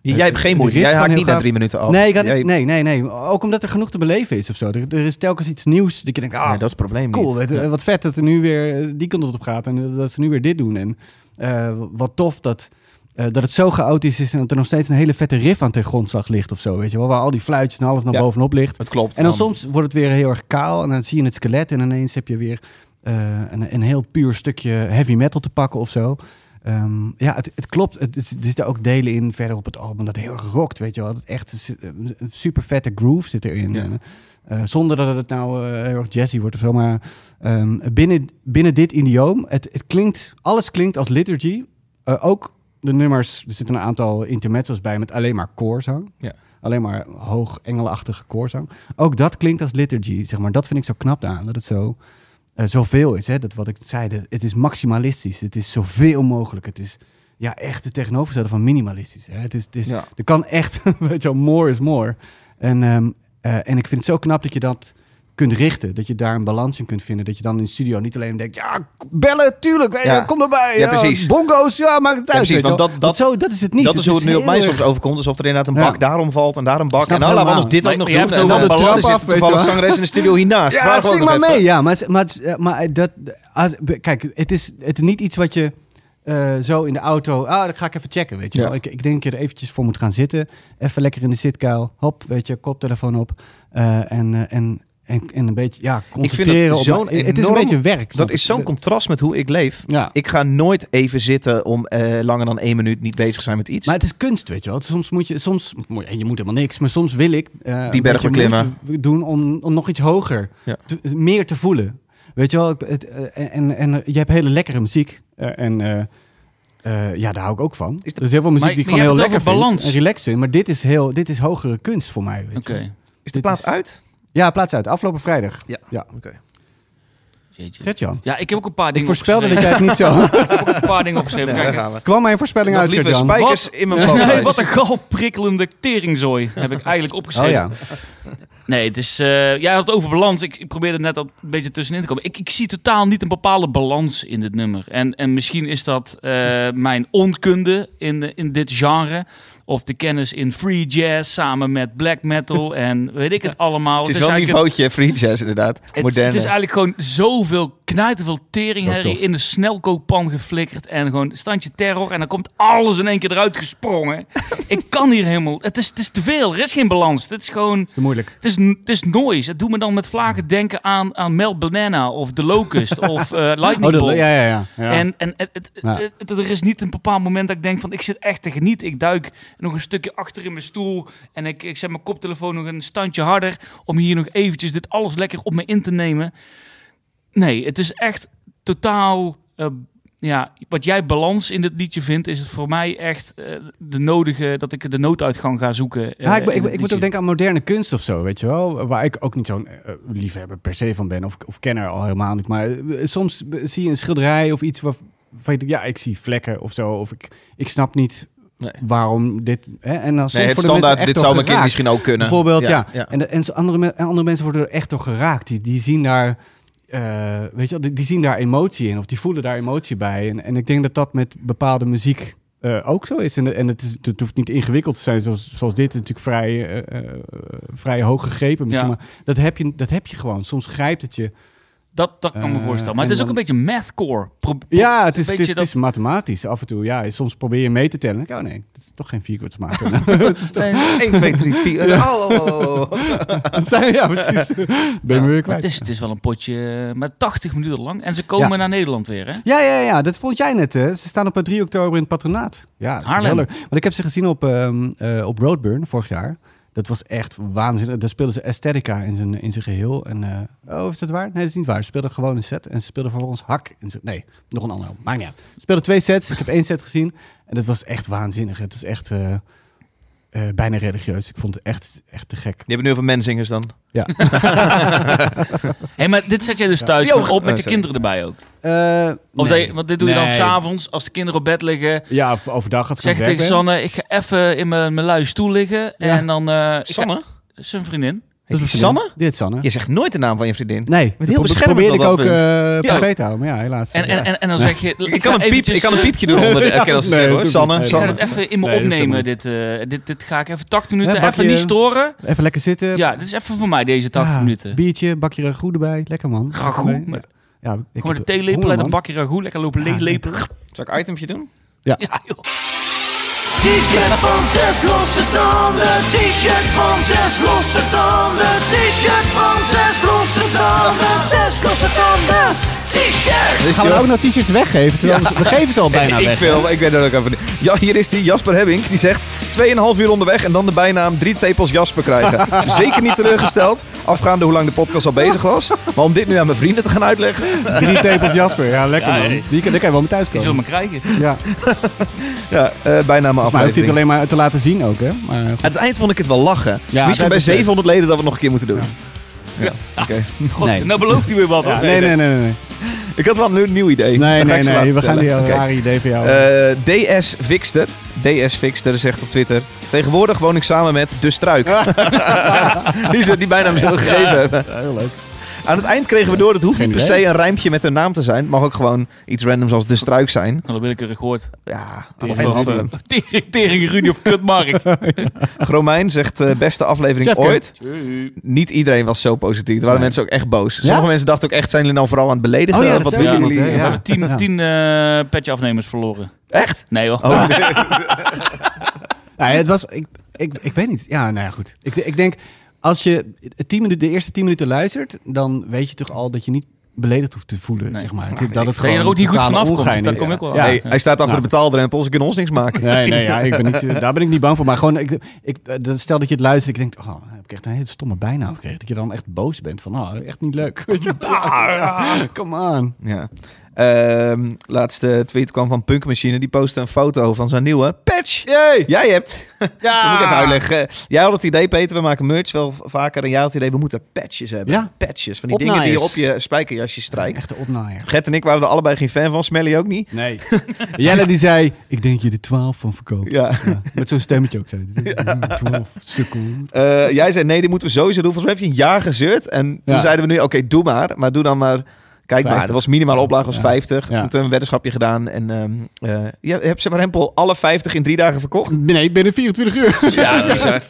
Speaker 3: J-
Speaker 1: Eh,
Speaker 3: Jij hebt geen
Speaker 1: de
Speaker 3: moeite.
Speaker 1: riffs
Speaker 3: Jij
Speaker 1: gaan
Speaker 3: haakt
Speaker 1: heel
Speaker 3: niet na
Speaker 1: gaaf.
Speaker 3: drie minuten af.
Speaker 1: nee, ik had-
Speaker 3: Oh, Jij-
Speaker 1: nee, nee, nee. Ook omdat er genoeg te beleven is of zo. Er, er is telkens iets nieuws. Dat je denkt, ah,
Speaker 3: Nee, dat is het probleem
Speaker 1: cool.
Speaker 3: niet.
Speaker 1: weet- eh, Wat vet dat er nu weer eh, die kant op gaat. En eh, dat ze nu weer dit doen. En eh, wat tof dat, eh, dat het zo chaotisch is. En dat er nog steeds een hele vette riff aan ten grondslag ligt of zo. Weet je wel? Waar al die fluitjes en alles naar
Speaker 3: Ja.
Speaker 1: bovenop ligt.
Speaker 3: Het klopt.
Speaker 1: En dan soms wordt het weer heel erg kaal. En dan zie je het skelet. En ineens heb je weer eh, een, een heel puur stukje heavy metal te pakken of zo. Ehm, ja, het, het klopt. Het, is- er zitten ook delen in verder op het album dat heel erg rockt, weet je wel. Dat echt een su- een super vette groove zit erin.
Speaker 3: Ja.
Speaker 1: En, eh, zonder dat het nou eh, heel erg jazzy wordt of zo. Maar ehm, binnen, binnen dit idioom, het, het klinkt, alles klinkt als liturgy. Eh, ook de nummers, er zitten een aantal intermezzo's bij met alleen maar koorzang.
Speaker 3: Ja.
Speaker 1: Alleen maar hoog engelachtige koorzang. Ook dat klinkt als liturgy, zeg maar. Dat vind ik zo knap aan, dat het zo eh, zoveel is. Hè? Dat wat ik zei, dat het is maximalistisch. Het is zoveel mogelijk. Het is ja, echt het tegenovergestelde van minimalistisch. Hè? Het is, het is,
Speaker 3: Ja.
Speaker 1: Er kan echt, weet je wel, more is more. En, ehm, eh, en ik vind het zo knap dat je dat kunt richten. Dat je daar een balans in kunt vinden. Dat je dan in de studio niet alleen denkt... ja, k- bellen, tuurlijk, eh,
Speaker 3: Ja.
Speaker 1: kom erbij.
Speaker 3: Ja, precies.
Speaker 1: Bongo's, ja, maak het uit.
Speaker 3: precies,
Speaker 1: weet je
Speaker 3: want
Speaker 1: wel.
Speaker 3: dat-
Speaker 1: Want
Speaker 3: dat-
Speaker 1: zo, dat is het niet.
Speaker 3: dat is hoe het nu op mij
Speaker 1: heel
Speaker 3: soms
Speaker 1: erg-
Speaker 3: overkomt. Alsof er inderdaad een
Speaker 1: Ja.
Speaker 3: bak daarom valt en daar een bak.
Speaker 1: snap
Speaker 3: En nou, laten we
Speaker 1: helemaal.
Speaker 3: anders dit
Speaker 2: Maar
Speaker 3: ook nog
Speaker 2: jij
Speaker 3: doen.
Speaker 2: hebt
Speaker 3: En
Speaker 2: het
Speaker 3: dan
Speaker 2: over de
Speaker 3: er
Speaker 1: trap
Speaker 3: zit
Speaker 1: af, weet je
Speaker 3: toevallig
Speaker 1: wel.
Speaker 3: zangeres in de studio hiernaast.
Speaker 1: Ja,
Speaker 3: Vraag gewoon
Speaker 1: zing
Speaker 3: nog
Speaker 1: maar
Speaker 3: even.
Speaker 1: mee. Ja, maar, maar, maar dat, als, be- kijk, het is, het is niet iets wat je eh, zo in de auto... Ah, dat ga ik even checken, weet je
Speaker 3: Ja.
Speaker 1: wel. Ik, ik denk dat je er eventjes voor moet gaan zitten. Even lekker in de zitkuil. Hop, weet je, koptelefoon op. eh, en, eh, en, en, en een beetje, ja, concentreren op...
Speaker 3: zo'n
Speaker 1: het is een
Speaker 3: enorm-
Speaker 1: beetje werk. snap
Speaker 3: Dat
Speaker 1: je?
Speaker 3: is zo'n contrast met hoe ik leef.
Speaker 1: Ja.
Speaker 3: Ik ga nooit even zitten om eh, langer dan één minuut niet bezig zijn met iets.
Speaker 1: Maar het is kunst, weet je wel. Soms moet je, soms, moet je- je moet helemaal niks, maar soms wil ik eh, een
Speaker 3: berg
Speaker 1: beetje
Speaker 3: beklimmen.
Speaker 1: moeite doen om, om nog iets hoger,
Speaker 3: Ja.
Speaker 1: te- meer te voelen. Weet je wel, ik- het, eh, en, en, en je hebt hele lekkere muziek. eh, en eh, eh, ja, daar hou ik ook van.
Speaker 2: Is de-
Speaker 1: dus heel veel muziek
Speaker 2: Maar-
Speaker 1: die ik
Speaker 2: maar
Speaker 1: gewoon
Speaker 2: je
Speaker 1: heel
Speaker 2: hebt
Speaker 1: lekker
Speaker 2: het
Speaker 1: vind
Speaker 2: over balans.
Speaker 1: en relaxed vind. Maar dit is, heel, dit is hogere kunst voor mij. weet
Speaker 2: Oké.
Speaker 1: je.
Speaker 3: Is de
Speaker 1: Dit
Speaker 3: plaat
Speaker 1: is-
Speaker 3: uit?
Speaker 1: Ja, plaats uit. Afgelopen vrijdag.
Speaker 2: Jeetje.
Speaker 1: Gert-Jan.
Speaker 2: Ja, ik heb ook een paar
Speaker 1: Ik
Speaker 2: dingen
Speaker 1: voorspelde dat
Speaker 2: opgeschreven.
Speaker 1: jij het niet zo...
Speaker 2: Ik heb ook een paar dingen opgeschreven.
Speaker 3: Nou, daar
Speaker 2: Kijk,
Speaker 3: gaan we.
Speaker 1: Kwam mijn voorspelling
Speaker 3: Nog
Speaker 1: uit,
Speaker 3: liever
Speaker 1: Gert-Jan?
Speaker 3: spijkers in mijn plaat.
Speaker 2: Nee, wat een galprikkelende teringzooi heb ik eigenlijk
Speaker 1: Oh
Speaker 2: opgeschreven.
Speaker 1: ja.
Speaker 2: Nee, het is, eh, jij had het over balans. Ik, ik probeerde net al een beetje tussenin te komen. Ik, ik zie totaal niet een bepaalde balans in dit nummer. En, en misschien is dat eh, mijn onkunde in, de- in dit genre. Of de kennis in free jazz samen met black metal en weet ik het allemaal.
Speaker 3: Het is
Speaker 1: Dus
Speaker 3: wel een
Speaker 2: eigenlijk
Speaker 3: niveautje, hè, free jazz inderdaad.
Speaker 2: het, het
Speaker 3: Moderne.
Speaker 2: is eigenlijk gewoon zoveel knijten, veel
Speaker 1: Wel
Speaker 2: teringherrie
Speaker 1: tof.
Speaker 2: in de snelkooppan geflikkerd. En gewoon standje terror. En dan komt alles in één keer eruit gesprongen. ik kan hier helemaal... Het is, het is te veel. Er is geen balans. Dit is gewoon...
Speaker 1: Te moeilijk. Oh,
Speaker 2: Het is, het is noise. Het doet me dan met vlagen denken aan, aan Mel Banana of The Locust of eh, Lightning
Speaker 1: Oh, dat,
Speaker 2: Bolt.
Speaker 1: ja, ja, ja. ja.
Speaker 2: En, en het, het,
Speaker 1: Ja.
Speaker 2: het- het- er is niet een bepaald moment dat ik denk van ik zit echt te genieten. Ik duik nog een stukje achter in mijn stoel en ik, ik zet mijn koptelefoon nog een standje harder om hier nog eventjes dit alles lekker op me in te nemen. Nee, het is echt totaal... eh, ja, wat jij balans in dit liedje vindt, is het voor mij echt eh, de nodige, dat ik de nooduitgang ga zoeken. eh,
Speaker 1: Ja, ik, ben-
Speaker 2: in dit
Speaker 1: ik, ik moet ook
Speaker 2: liedje.
Speaker 1: denken aan moderne kunst of zo, weet je wel. Waar ik ook niet zo'n eh, eh, liefhebber per se van ben. Of, of kenner al helemaal niet. Maar eh, soms eh, zie je een schilderij of iets waarvan je denkt... Ja, ik zie vlekken of zo. Of ik, ik snap niet
Speaker 3: Nee.
Speaker 1: waarom dit... Hè? En dan soms
Speaker 3: Nee, het
Speaker 1: worden mensen
Speaker 3: standaard,
Speaker 1: echt
Speaker 3: dit
Speaker 1: door
Speaker 3: zou mijn kind
Speaker 1: geraakt.
Speaker 3: misschien ook kunnen.
Speaker 1: Bijvoorbeeld, ja.
Speaker 3: ja.
Speaker 1: En, de- en zo andere, me- en andere mensen worden er echt door geraakt. Die, die zien daar... eh, weet je, wel, die, die zien daar emotie in of die voelen daar emotie bij. En, en ik denk dat dat met bepaalde muziek eh, ook zo is. En, en het, is, het hoeft niet ingewikkeld te zijn, zoals, zoals dit natuurlijk vrij, eh, eh, vrij hoog gegrepen. Misschien,
Speaker 2: Ja.
Speaker 1: Maar dat heb, je, dat heb je gewoon. Soms grijpt het je.
Speaker 2: Dat, dat kan me
Speaker 1: Eh,
Speaker 2: voorstellen. Maar het
Speaker 1: en
Speaker 2: is ook
Speaker 1: dan-
Speaker 2: een beetje mathcore. Pro-
Speaker 1: Ja, het is,
Speaker 2: Weet
Speaker 1: het, is-
Speaker 2: je
Speaker 1: het is mathematisch af en toe. Ja, soms probeer je mee te tellen. Oh nee, dat is toch geen vierkwartsmaat. Het is toch-
Speaker 3: 1, 2, 3, 4. Oh, oh, oh.
Speaker 1: dat zijn- ja, precies. Ben je me weer
Speaker 2: Maar het
Speaker 1: kwijt.
Speaker 2: is, het is wel een potje eh, met 80 minuten lang. En ze komen
Speaker 1: Ja.
Speaker 2: naar Nederland weer, hè?
Speaker 1: Ja, ja, ja, dat vond jij net. Hè? Ze staan op eh, 3 oktober in het patronaat. Ja, dat is
Speaker 2: Haarlem.
Speaker 1: heel leuk. Want ik heb ze gezien op, ehm, eh, op Roadburn vorig jaar. Dat was echt waanzinnig. Daar speelden ze Aesthetica in zijn, in zijn geheel. En, eh, oh, is dat waar? Nee, dat is niet waar. Ze speelden gewoon een set. En ze speelden vervolgens Hak. In zijn, nee, nog een ander. Maakt niet uit. Ze speelden twee sets. Ik heb één set gezien. En dat was echt waanzinnig. Het was echt eh, eh, bijna religieus. Ik vond het echt, echt te gek.
Speaker 3: Die hebben nu over menzingers dan.
Speaker 2: Hey, maar dit zet jij dus thuis
Speaker 3: Die
Speaker 2: met-
Speaker 3: ook.
Speaker 2: op met
Speaker 3: Oh,
Speaker 2: je
Speaker 3: sorry.
Speaker 2: kinderen erbij ook.
Speaker 1: Eh,
Speaker 2: Of
Speaker 1: nee.
Speaker 2: dat je- want dit doe je dan
Speaker 1: Nee.
Speaker 2: s'avonds als de kinderen op bed liggen.
Speaker 1: Ja, of- overdag gaat het
Speaker 2: Zeg
Speaker 1: gewoon
Speaker 2: je tegen
Speaker 1: werk ben.
Speaker 2: Sanne, ik ga even in mijn, mijn lui stoel liggen. En dan... eh, ik ga-
Speaker 3: Sanne?
Speaker 2: Zijn vriendin.
Speaker 3: Heet die
Speaker 1: is
Speaker 3: Sanne?
Speaker 1: Dit is Sanne.
Speaker 3: Je zegt nooit de naam van je vriendin.
Speaker 1: Nee,
Speaker 3: heel
Speaker 1: dat pro- dat
Speaker 3: beschermend
Speaker 1: probeerde ik
Speaker 3: op
Speaker 1: ook
Speaker 3: dat
Speaker 1: eh
Speaker 3: punt. Ja.
Speaker 1: privé te houden, maar ja, helaas. eh,
Speaker 2: En, en, en, en dan zeg je...
Speaker 3: Ik kan, een piep,
Speaker 2: eventjes,
Speaker 3: ik kan een
Speaker 2: eh,
Speaker 3: piepje doen onder de
Speaker 1: Ja,
Speaker 3: kerels te
Speaker 1: nee,
Speaker 3: zeggen hoor.
Speaker 1: doe
Speaker 3: Sanne,
Speaker 1: niet. Nee,
Speaker 2: Ik ga
Speaker 3: Sanne.
Speaker 2: het even in me
Speaker 1: Nee, dat kan
Speaker 2: opnemen.
Speaker 1: niet.
Speaker 2: Dit, eh, dit, dit ga ik even 80 minuten
Speaker 1: Ja,
Speaker 2: even
Speaker 1: bakje-
Speaker 2: niet storen.
Speaker 1: Even lekker zitten.
Speaker 2: Ja, dit is even voor mij deze 80
Speaker 1: Ja,
Speaker 2: minuten.
Speaker 1: Biertje, bakje ragout erbij. Lekker man.
Speaker 2: Ragout?
Speaker 1: Lekker mee. Ja, ik heb
Speaker 2: Gewoon de theelepel
Speaker 1: honger,
Speaker 2: uit een
Speaker 1: man.
Speaker 2: bakje ragout. Lekker lopen
Speaker 1: Ja,
Speaker 2: leeglepelen.
Speaker 3: Zal ik een itempje doen?
Speaker 2: Ja, joh.
Speaker 3: T-shirt van zes losse tanden. T-shirt van zes losse tanden. T-shirt van zes losse tanden. Zes losse tanden. T-shirt. nou
Speaker 1: Gaan we ook nog t-shirts weggeven? Terwijl we- We geven ze al bijna
Speaker 3: ik
Speaker 1: weg. hè?
Speaker 3: veel, ik weet dat ook even niet. Ja, hier is die Jasper Hebbink, die zegt... 2,5 uur onderweg en dan de bijnaam drie tepels Jasper krijgen. Zeker niet teleurgesteld, afgaande hoe lang de podcast al bezig was. Maar om dit nu aan mijn vrienden te gaan uitleggen...
Speaker 1: Drie tepels Jasper. Ja, lekker
Speaker 2: Ja,
Speaker 1: man.
Speaker 2: hey.
Speaker 1: Die kan, daar kan je wel mee thuis
Speaker 2: Je zult
Speaker 1: komen.
Speaker 2: me krijgen.
Speaker 1: Ja,
Speaker 3: Ja, eh bijnaam
Speaker 1: volgens mij hoeft hij het
Speaker 3: aflevering.
Speaker 1: alleen maar te laten zien ook, hè? Maar goed.
Speaker 3: Aan het eind vond ik het wel lachen.
Speaker 1: Ja,
Speaker 3: Misschien
Speaker 1: dat
Speaker 3: bij
Speaker 1: is het.
Speaker 3: 700 leden dat we het nog een keer moeten doen. Ja. Oké.
Speaker 2: God,
Speaker 1: Nee.
Speaker 2: nou belooft hij weer wat. hoor.
Speaker 1: Nee, nee, nee, nee.
Speaker 3: Ik had wel een nieuw- nieuw idee.
Speaker 1: Nee,
Speaker 3: Dan ga
Speaker 1: nee,
Speaker 3: ik ze
Speaker 1: nee.
Speaker 3: laten
Speaker 1: We gaan die eh,
Speaker 3: vertellen. Oké.
Speaker 1: rare idee van jou.
Speaker 3: Eh, DS Fixter. DS Fixter zegt op Twitter... Tegenwoordig woon ik samen met De Struik. die ze die bijnaam zo gegeven hebben.
Speaker 1: Ja, eh, Heel leuk.
Speaker 3: Aan het eind kregen we door... dat hoeft
Speaker 1: Geen
Speaker 3: niet per
Speaker 1: idee.
Speaker 3: se een rijmpje met hun naam te zijn. Het mag ook gewoon iets randoms als De Struik zijn.
Speaker 2: Nou, dat willekeurig woord.
Speaker 3: Ja,
Speaker 2: Of,
Speaker 3: en
Speaker 2: of, eh,
Speaker 3: handelen.
Speaker 2: Tering, tering, Rudy of kut Mark.
Speaker 3: Gromijn zegt... eh, beste aflevering
Speaker 1: Jeffke.
Speaker 3: ooit. Niet iedereen was zo positief. Er waren
Speaker 1: Nee.
Speaker 3: mensen ook echt boos. Sommige
Speaker 1: Ja?
Speaker 3: mensen dachten ook echt... zijn jullie nou vooral aan het beledigen?
Speaker 1: Oh ja,
Speaker 3: Of wat
Speaker 1: dat zei
Speaker 3: willen
Speaker 1: iemand,
Speaker 3: jullie?
Speaker 1: hè?
Speaker 2: eh, We
Speaker 1: Ja.
Speaker 2: hebben tien,
Speaker 1: Ja.
Speaker 2: tien eh, petje afnemers verloren.
Speaker 3: Echt?
Speaker 2: Nee hoor.
Speaker 3: Oh,
Speaker 1: Nou, het was, ik, ik, ik weet niet. Ja, nou ja, goed. Ik, ik denk, als je het 10 minuten, de eerste 10 minuten luistert, dan weet je toch al dat je niet beledigd hoeft te voelen,
Speaker 2: Nee.
Speaker 1: zeg maar.
Speaker 3: Nee,
Speaker 1: dat
Speaker 2: Dat
Speaker 1: het
Speaker 2: je er
Speaker 1: gewoon
Speaker 2: ook niet goed
Speaker 1: totale
Speaker 2: vanaf komt.
Speaker 1: ongein
Speaker 2: Dat
Speaker 1: is.
Speaker 2: kom ik wel.
Speaker 1: Ja.
Speaker 3: nee, hij staat achter
Speaker 1: Nou.
Speaker 3: de betaaldrempel. Ze kunnen ons niks maken.
Speaker 1: Nee, nee, ja, ik ben niet, eh, daar ben ik niet bang voor. Maar gewoon, ik, ik, eh, dat- stel dat je het luistert, ik denk, oh, heb ik echt een hele stomme bijnaam gekregen. Dat je dan echt boos bent van, oh, echt niet leuk. Weet je? Ah, Come on.
Speaker 3: Ja. Ehm, laatste tweet kwam van Punkmachine. Die postte een foto van zijn nieuwe patch.
Speaker 1: Yay!
Speaker 3: Jij hebt. Dat moet ik
Speaker 1: Ah.
Speaker 3: even uitleggen. Jij had het idee, Peter, we maken merch wel v- vaker. En jij had het idee, we moeten patches hebben.
Speaker 1: Ja.
Speaker 3: Patches. Van die
Speaker 5: Opnaaiers.
Speaker 3: dingen die je op je spijkerjasje strijkt.
Speaker 1: Echte opnaaier.
Speaker 3: Gert en ik waren er allebei geen fan van. Smelly ook niet.
Speaker 1: Nee. Jelle die zei, ik denk je de 12 van verkoopt.
Speaker 3: Ja.
Speaker 1: Ja, met zo'n stemmetje ook. Zei. hij. 12, "Mm, sukkel.
Speaker 3: Eh, jij zei, nee, die moeten we sowieso doen. Volgens mij heb je een jaar gezeurd. En toen
Speaker 1: Ja.
Speaker 3: zeiden we nu, oké, doe maar. Maar doe dan maar... Kijk maar,
Speaker 1: 50.
Speaker 3: dat was minimale oplage was
Speaker 1: Ja.
Speaker 3: 50.
Speaker 1: Ja.
Speaker 3: En toen hebben we een weddenschapje gedaan. En ehm eh je hebt zeg maar Rempel alle 50 in drie dagen verkocht.
Speaker 1: Nee, binnen 24 uur.
Speaker 3: Ja, bizar.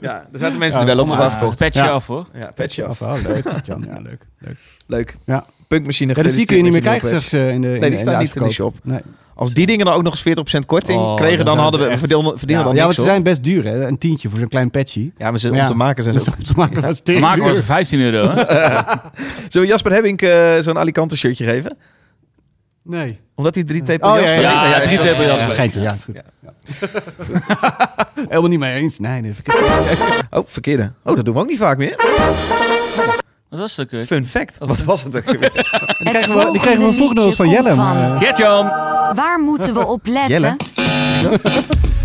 Speaker 3: ja, daar zaten mensen
Speaker 1: Ja,
Speaker 3: er wel op te
Speaker 1: kom
Speaker 3: wachten. toch?
Speaker 2: Patch je
Speaker 1: Ja.
Speaker 2: Ah, af hoor.
Speaker 3: Ja, petje af.
Speaker 1: Oh, leuk. Jan. Ja, leuk. leuk.
Speaker 3: Leuk.
Speaker 1: Ja.
Speaker 3: Punkmachine.
Speaker 1: Ja, dus die kun je niet meer krijgen
Speaker 3: gefeliciteerd
Speaker 1: straks eh, in de in
Speaker 3: die
Speaker 1: de- in de
Speaker 3: staan niet in de
Speaker 1: uitverkoop. Nee.
Speaker 3: met je nieuwe patch. Als die dingen dan ook nog eens 40% korting
Speaker 1: Oh,
Speaker 3: kregen,
Speaker 1: dan
Speaker 3: dan
Speaker 1: zijn
Speaker 3: hadden
Speaker 1: ze
Speaker 3: we, we
Speaker 1: echt-
Speaker 3: verdienen, verdienen
Speaker 1: Ja,
Speaker 3: dan
Speaker 1: ja,
Speaker 3: niks
Speaker 1: want ze
Speaker 3: op.
Speaker 1: zijn best duur, hè? Een tientje voor zo'n klein patchy.
Speaker 3: Ja, maar ze,
Speaker 1: Maar
Speaker 3: om
Speaker 1: ja,
Speaker 3: te maken zijn
Speaker 1: Dus
Speaker 3: ze
Speaker 1: om te maken was het
Speaker 2: We
Speaker 1: tering
Speaker 2: maken was
Speaker 1: duur.
Speaker 2: 15 euro. Hè?
Speaker 3: Zullen we Jasper Hebbink eh, zo'n Alicante shirtje geven?
Speaker 1: Nee.
Speaker 3: Omdat hij drie tape
Speaker 1: Oh, ja,
Speaker 3: Jasper
Speaker 1: ja,
Speaker 3: heet.
Speaker 2: ja,
Speaker 3: jij
Speaker 2: drie
Speaker 3: zegt
Speaker 2: tape
Speaker 3: dat-
Speaker 2: Jasper.
Speaker 1: Ja, geintje, ja, is goed. Ja. Helemaal niet mee eens. Nee, nee. verkeerd.
Speaker 3: Oh, verkeerde. Oh, dat doen we ook niet vaak meer.
Speaker 2: Wat was dat ook weer?
Speaker 3: Fun fact. Wat was het ook weer?
Speaker 1: Die
Speaker 4: Het
Speaker 1: krijgen we, die krijgen we
Speaker 4: volgende
Speaker 1: volgende
Speaker 4: liedje
Speaker 1: van Jelle.
Speaker 4: komt
Speaker 1: maar, eh,
Speaker 2: Gert-Jan!
Speaker 4: Waar moeten we op
Speaker 3: Jelle?
Speaker 4: letten?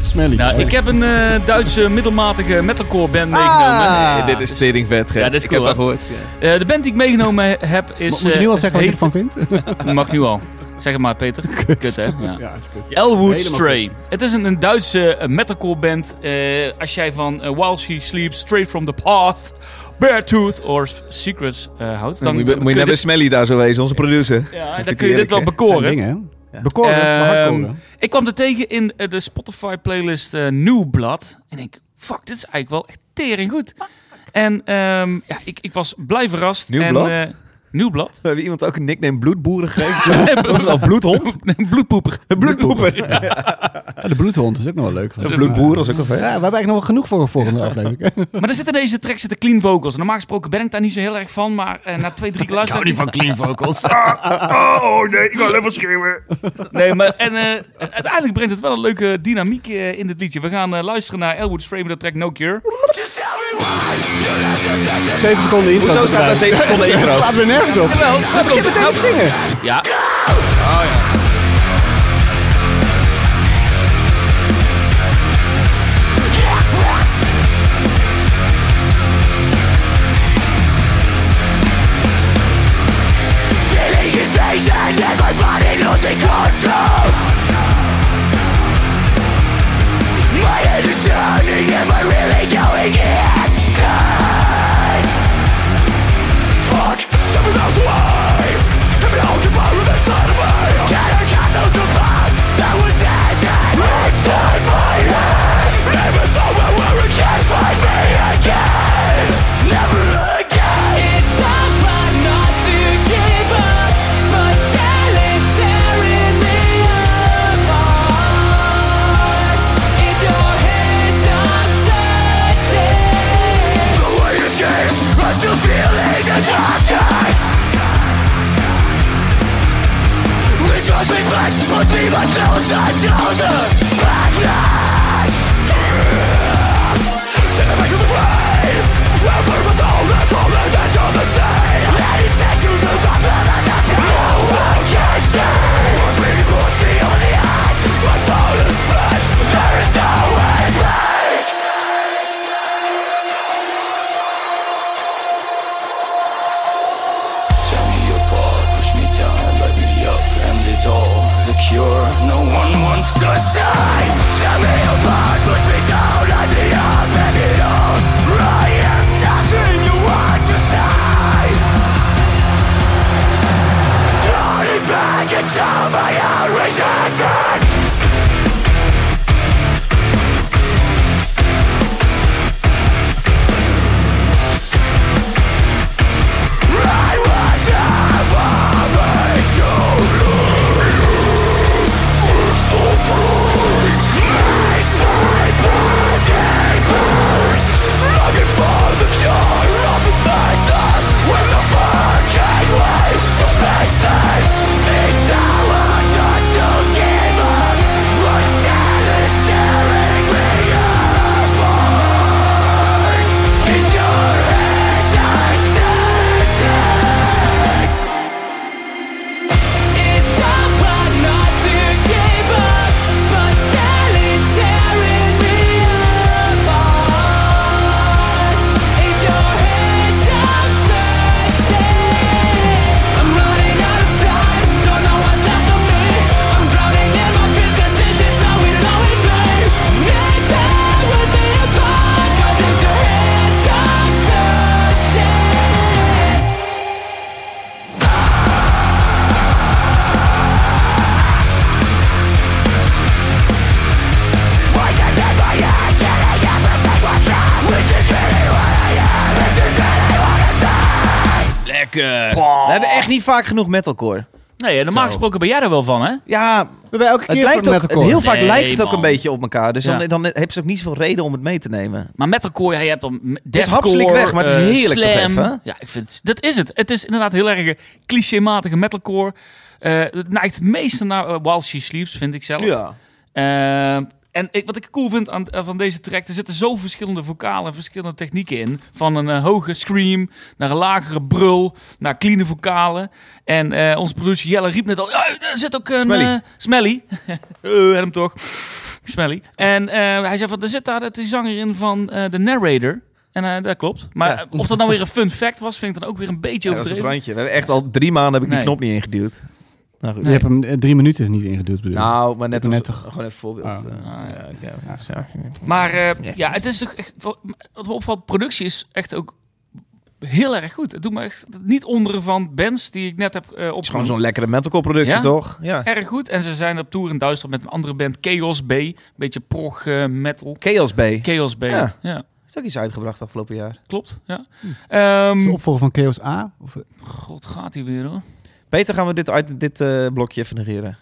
Speaker 1: Smelly.
Speaker 2: Nou, ik heb een eh, Duitse middelmatige metalcore band meegenomen.
Speaker 1: Ah.
Speaker 3: Dit is teringvet, Gert.
Speaker 2: Ja, dit is
Speaker 3: Ik heb
Speaker 2: cool,
Speaker 3: dat gehoord.
Speaker 2: Eh, de band die ik meegenomen heb is...
Speaker 1: Mo- Moet je
Speaker 2: eh,
Speaker 1: nu al zeggen wat je
Speaker 2: heet-
Speaker 1: ervan vindt?
Speaker 2: Mag nu al. Zeg het maar, Peter. Kut, hè? Ja.
Speaker 1: Ja, is goed.
Speaker 2: Elwood
Speaker 1: Helemaal
Speaker 2: Stray. Het is een, een Duitse eh, metalcore band. Eh, als jij van eh, While She Sleeps, Straight From The Path, Beartooth or S- Secrets eh, houdt... Dan,
Speaker 3: moet je,
Speaker 2: dan
Speaker 3: moet je
Speaker 2: kun
Speaker 3: naar
Speaker 2: je
Speaker 3: bij
Speaker 2: dit,
Speaker 3: Smelly daar zo wezen, onze producer.
Speaker 2: ja, dan kun
Speaker 3: vindt hij
Speaker 2: je dit
Speaker 3: eerlijk,
Speaker 2: wel
Speaker 3: hè? Oh,
Speaker 1: Zijn
Speaker 2: bekoren.
Speaker 1: dingen, hè? Bekoren,
Speaker 2: Ehm,
Speaker 1: maar hardcoren.
Speaker 2: Ik kwam er tegen in eh, de Spotify playlist eh, New Blood. En ik, fuck, dit is eigenlijk wel echt tering goed. En ehm, ja, ik, ik was blij verrast.
Speaker 3: Nieuw
Speaker 2: en,
Speaker 3: blad?
Speaker 2: eh, nieuw blad.
Speaker 3: We hebben iemand ook een nickname bloedboeren gegeven. Dat is al bloedhond.
Speaker 2: Een bloedpoeper.
Speaker 3: Een bloedpoeper.
Speaker 1: Ja, Ah, de bloedhond is ook nog wel leuk.
Speaker 3: Een bloedboer is ook wel vet.
Speaker 1: Ja, we hebben eigenlijk nog wel genoeg voor een volgende aflevering.
Speaker 2: Maar er zitten in deze track zitten clean vocals. Normaal gesproken ben ik daar niet zo heel erg van. Maar eh, na twee, drie keer luisteren... Ik van clean vocals.
Speaker 3: Oh nee, ik wil even schreeuwen.
Speaker 2: Nee, maar en, eh, uiteindelijk brengt het wel een leuke dynamiek eh, in dit liedje. We gaan eh, luisteren naar Elwood's Frame met de track No Cure.
Speaker 1: Zeven seconden intro.
Speaker 3: Hoezo staat daar 7 seconden
Speaker 1: Het
Speaker 3: intro?
Speaker 1: slaat weer nergens op.
Speaker 2: Wel, nou komt het. Nou-
Speaker 1: zingen.
Speaker 2: Ja.
Speaker 6: Tear me apart, push me down, light me up, and it's all the cure. No one wants to say. Tear me apart, push me down, light me up, and it all. I am nothing you want to say. Running back into my own resentment. I was never meant to love you. You're so free.
Speaker 2: lekker.
Speaker 3: We hebben echt niet vaak genoeg metalcore.
Speaker 2: Nee, en normaal gesproken ben jij er wel van, hè?
Speaker 3: Ja,
Speaker 1: We hebben elke
Speaker 3: het
Speaker 1: keer
Speaker 3: lijkt ook,
Speaker 1: metalcore.
Speaker 3: heel vaak
Speaker 2: Nee,
Speaker 3: lijkt het ook
Speaker 2: man.
Speaker 3: een beetje op elkaar. Dus
Speaker 2: Ja.
Speaker 3: dan, dan heb ze ook niet zoveel reden om het mee te nemen.
Speaker 2: Maar metalcore, ja, je hebt dan deathcore.
Speaker 3: hapselijk weg, maar het is
Speaker 2: eh,
Speaker 3: heerlijk toch
Speaker 2: slam.
Speaker 3: even?
Speaker 2: Ja, ik vind, dat is het. Het is inderdaad heel erg een clichématige metalcore. Eh, het neigt het meeste naar eh, While She Sleeps, vind ik zelf. Eh, en ik, wat ik cool vind aan, eh, van deze track, er zitten zoveel verschillende vocalen en verschillende technieken in. Van een eh, hoge scream naar een lagere brul, naar clean vocalen. En eh onze producer Jelle riep net al, "Ja, er zit ook een...
Speaker 3: Smelly.
Speaker 2: eh, smelly. Eh, hem toch. Smelly. En eh, hij zei van, er zit daar eh, die zanger in van eh, de narrator. En eh, dat klopt. Maar
Speaker 3: Ja.
Speaker 2: eh, of dat nou weer een fun fact was, vind ik dan ook weer een beetje
Speaker 3: Ja, dat is het
Speaker 2: overdreven.
Speaker 3: randje. We hebben echt al drie maanden heb ik die
Speaker 2: Nee.
Speaker 3: knop niet ingeduwd. Nou, goed.
Speaker 1: Je hebt hem eh, drie minuten niet ingeduwd, bedoel ik.
Speaker 3: nou maar net, als,
Speaker 1: Net toch.
Speaker 3: gewoon even voorbeeld.
Speaker 1: Ah.
Speaker 3: eh,
Speaker 2: Ah,
Speaker 3: ja, oké. Ja.
Speaker 2: Maar eh, ja, het is toch echt, wat me opvalt, productie is echt ook heel erg goed. Het doet me echt niet onderen van bands die ik net heb eh
Speaker 3: Het is gewoon
Speaker 2: opgenomen.
Speaker 3: zo'n lekkere metalcore productie,
Speaker 2: Ja?
Speaker 3: toch? Ja.
Speaker 2: Erg goed. En ze zijn op tour in Duitsland met een andere band, Chaos B. Een beetje prog eh, metal.
Speaker 3: Chaos B.
Speaker 2: Chaos B. Ja,
Speaker 3: Ja. Hm. Is ook iets uitgebracht afgelopen jaar.
Speaker 2: klopt. Ja.
Speaker 1: Is
Speaker 2: Ehm,
Speaker 1: het de opvolger van Chaos A? Of, eh,
Speaker 2: God, gaat hij weer hoor.
Speaker 3: Beter gaan we dit, uit, dit eh, blokje even negeren.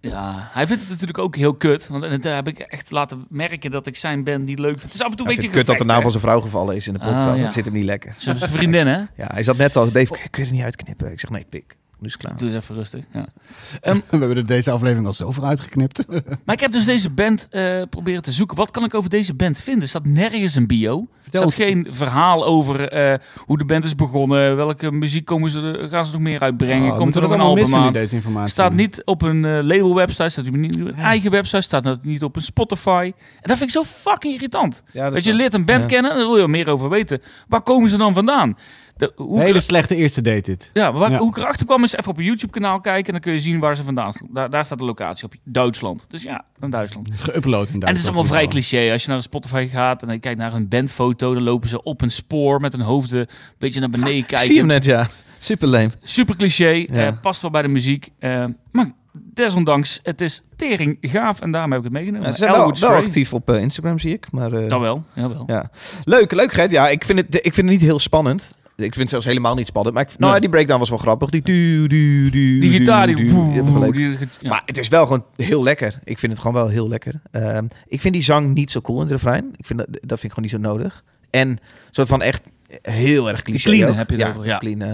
Speaker 2: Ja, hij vindt het natuurlijk ook heel kut. Want dat heb ik echt laten merken dat ik zijn band niet leuk vind. Het is af en toe
Speaker 3: Ik
Speaker 2: een
Speaker 3: vind het
Speaker 2: beetje
Speaker 3: kut dat nou de naam van
Speaker 2: gevecht,
Speaker 3: zijn vrouw gevallen is in de
Speaker 2: Ah,
Speaker 3: podcast.
Speaker 2: ja.
Speaker 3: Dat zit hem niet lekker.
Speaker 2: hè. Zijn vriendin, hè?
Speaker 3: Ja, hij zat net al. Dave, kun je er niet uitknippen? Ik zeg, nee, pik. Nu is het klaar.
Speaker 2: Doe eens even rustig. Ja. ehm,
Speaker 1: we hebben er deze aflevering al zoveel uitgeknipt.
Speaker 2: Maar ik heb dus deze band eh, proberen te zoeken. Wat kan ik over deze band vinden? Er staat nergens een bio. Er staat
Speaker 1: ons.
Speaker 2: geen verhaal over eh, hoe de band is begonnen. Welke muziek komen ze, gaan ze nog meer
Speaker 3: Ah,
Speaker 2: uitbrengen?
Speaker 1: Oh,
Speaker 2: Komt er nog een album aan?
Speaker 1: deze informatie?
Speaker 2: Staat niet op een eh, label-website. Staat niet op een eigen website. Staat niet op een Spotify. En dat vind ik zo fucking irritant.
Speaker 3: Ja, dat
Speaker 2: Dat
Speaker 3: is
Speaker 2: je
Speaker 3: wel-
Speaker 2: leert een band
Speaker 3: Ja.
Speaker 2: kennen en daar wil je meer over weten. Waar komen ze dan vandaan? De, hoe
Speaker 1: Hele slechte eerste date dit.
Speaker 2: ja, maar waar,
Speaker 1: Ja.
Speaker 2: hoe ik erachter kwam is even op een YouTube-kanaal kijken... en dan kun je zien waar ze vandaan staan. Daar, daar staat de locatie op. Duitsland. Dus ja, een Duitsland.
Speaker 1: Geüpload in
Speaker 2: En het is allemaal vrij cliché. Als je naar Spotify gaat en dan kijkt naar een bandfoto, dan lopen ze op een spoor met hun hoofden een beetje naar beneden
Speaker 3: Zie je hem
Speaker 2: kijken.
Speaker 3: net, ja. Super leem.
Speaker 2: Super cliché, eh,
Speaker 3: Ja.
Speaker 2: past wel bij de muziek. eh, maar desondanks, het is tering gaaf en daarom heb ik het meegenomen.
Speaker 3: Ja, ze zijn wel,
Speaker 2: Elwood
Speaker 3: wel
Speaker 2: Stray.
Speaker 3: actief op eh, Instagram, zie ik. Maar, eh,
Speaker 2: Dat wel, jawel.
Speaker 3: ja. Leuk, leuk Gert. Ja, ik vind, het, ik vind het niet heel spannend. Ik vind het zelfs helemaal niet spannend. Maar ik, nou,
Speaker 2: Nee.
Speaker 3: ja, die breakdown was wel grappig. Die, du, du, du,
Speaker 2: Die
Speaker 3: du,
Speaker 2: gitaar, die...
Speaker 3: du, die- dat was wel leuk.
Speaker 2: die- ja.
Speaker 3: Maar het is wel gewoon heel lekker. Ik vind het gewoon wel heel lekker. Ehm, ik vind die zang niet zo cool in het refrein. Ik vind dat, dat vind ik gewoon niet zo nodig. En een soort van echt heel erg cliché.
Speaker 2: clean
Speaker 3: ook.
Speaker 2: heb je het
Speaker 3: ja,
Speaker 2: over, ja.
Speaker 3: Clean, eh.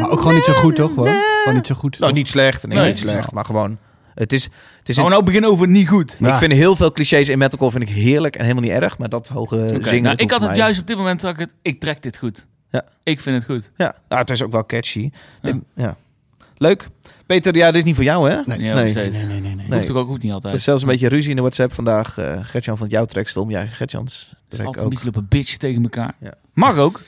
Speaker 1: Maar ook gewoon niet zo goed, toch? Gewoon, gewoon niet zo goed.
Speaker 3: Nou, niet slecht. Nee,
Speaker 2: Nee.
Speaker 3: niet slecht. Maar gewoon, het is... Het is
Speaker 2: Gaan we nou beginnen over niet goed?
Speaker 1: Ja.
Speaker 3: Ik vind heel veel clichés in metalcore vind ik heerlijk en helemaal niet erg. Maar dat hoge
Speaker 2: Oké,
Speaker 3: zingen...
Speaker 2: nou,
Speaker 3: dat
Speaker 2: ik had
Speaker 3: hoeft
Speaker 2: het
Speaker 3: mij.
Speaker 2: juist op dit moment, dat ik, het, ik trek dit goed.
Speaker 3: Ja.
Speaker 2: Ik vind het goed.
Speaker 3: Ja, nou, het is ook wel catchy. Ja. Ja. Leuk. Peter, ja, dit is niet voor jou, hè?
Speaker 2: Nee,
Speaker 3: nee.
Speaker 2: nog steeds.
Speaker 1: nee, nee. nee.
Speaker 3: Nee.
Speaker 2: Hoeft ook, ook hoeft niet altijd.
Speaker 3: Er is zelfs een beetje ruzie in de WhatsApp vandaag. Eh Gertjan van jouw trek stom. Ja, Gertjans trek
Speaker 2: Altijd een
Speaker 3: ook.
Speaker 2: beetje op een bitch tegen elkaar.
Speaker 3: Ja.
Speaker 2: Mag ook.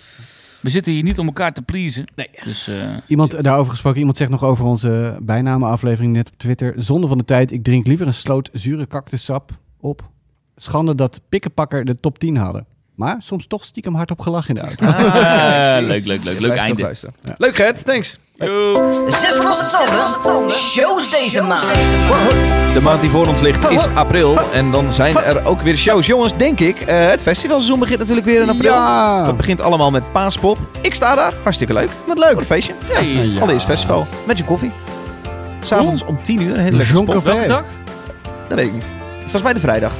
Speaker 2: We zitten hier niet om elkaar te pleasen.
Speaker 3: Nee.
Speaker 2: Dus eh,
Speaker 1: Iemand daarover gesproken, iemand zegt nog over onze bijnamenaflevering net op Twitter. Zonde van de tijd, ik drink liever een sloot zure cactussap op. Schande dat pikkenpakker de top 10 hadden. Maar soms toch stiekem hard op gelach in de auto.
Speaker 2: Ah, leuk, leuk, leuk, leuk
Speaker 3: Blijft ook
Speaker 2: einde.
Speaker 3: luisteren. Leuk, Gert. Thanks.
Speaker 7: Zes losse tanden. Shows deze maand.
Speaker 3: De maand die voor ons ligt is april. En dan zijn er ook weer shows. Jongens, denk ik, eh, het festivalseizoen begint natuurlijk weer in april.
Speaker 1: Ja.
Speaker 3: Dat begint allemaal met Paaspop. Ik sta daar. Hartstikke leuk. Wat leuk. Een feestje. Ja.
Speaker 2: Hey.
Speaker 1: Ja.
Speaker 3: Allereerst festival. Met je koffie. S'avonds om 10 uur. Een hele lekkere
Speaker 1: Jonker
Speaker 3: spot.
Speaker 1: Welke
Speaker 2: dag?
Speaker 3: Dat weet ik niet. Volgens mij de vrijdag.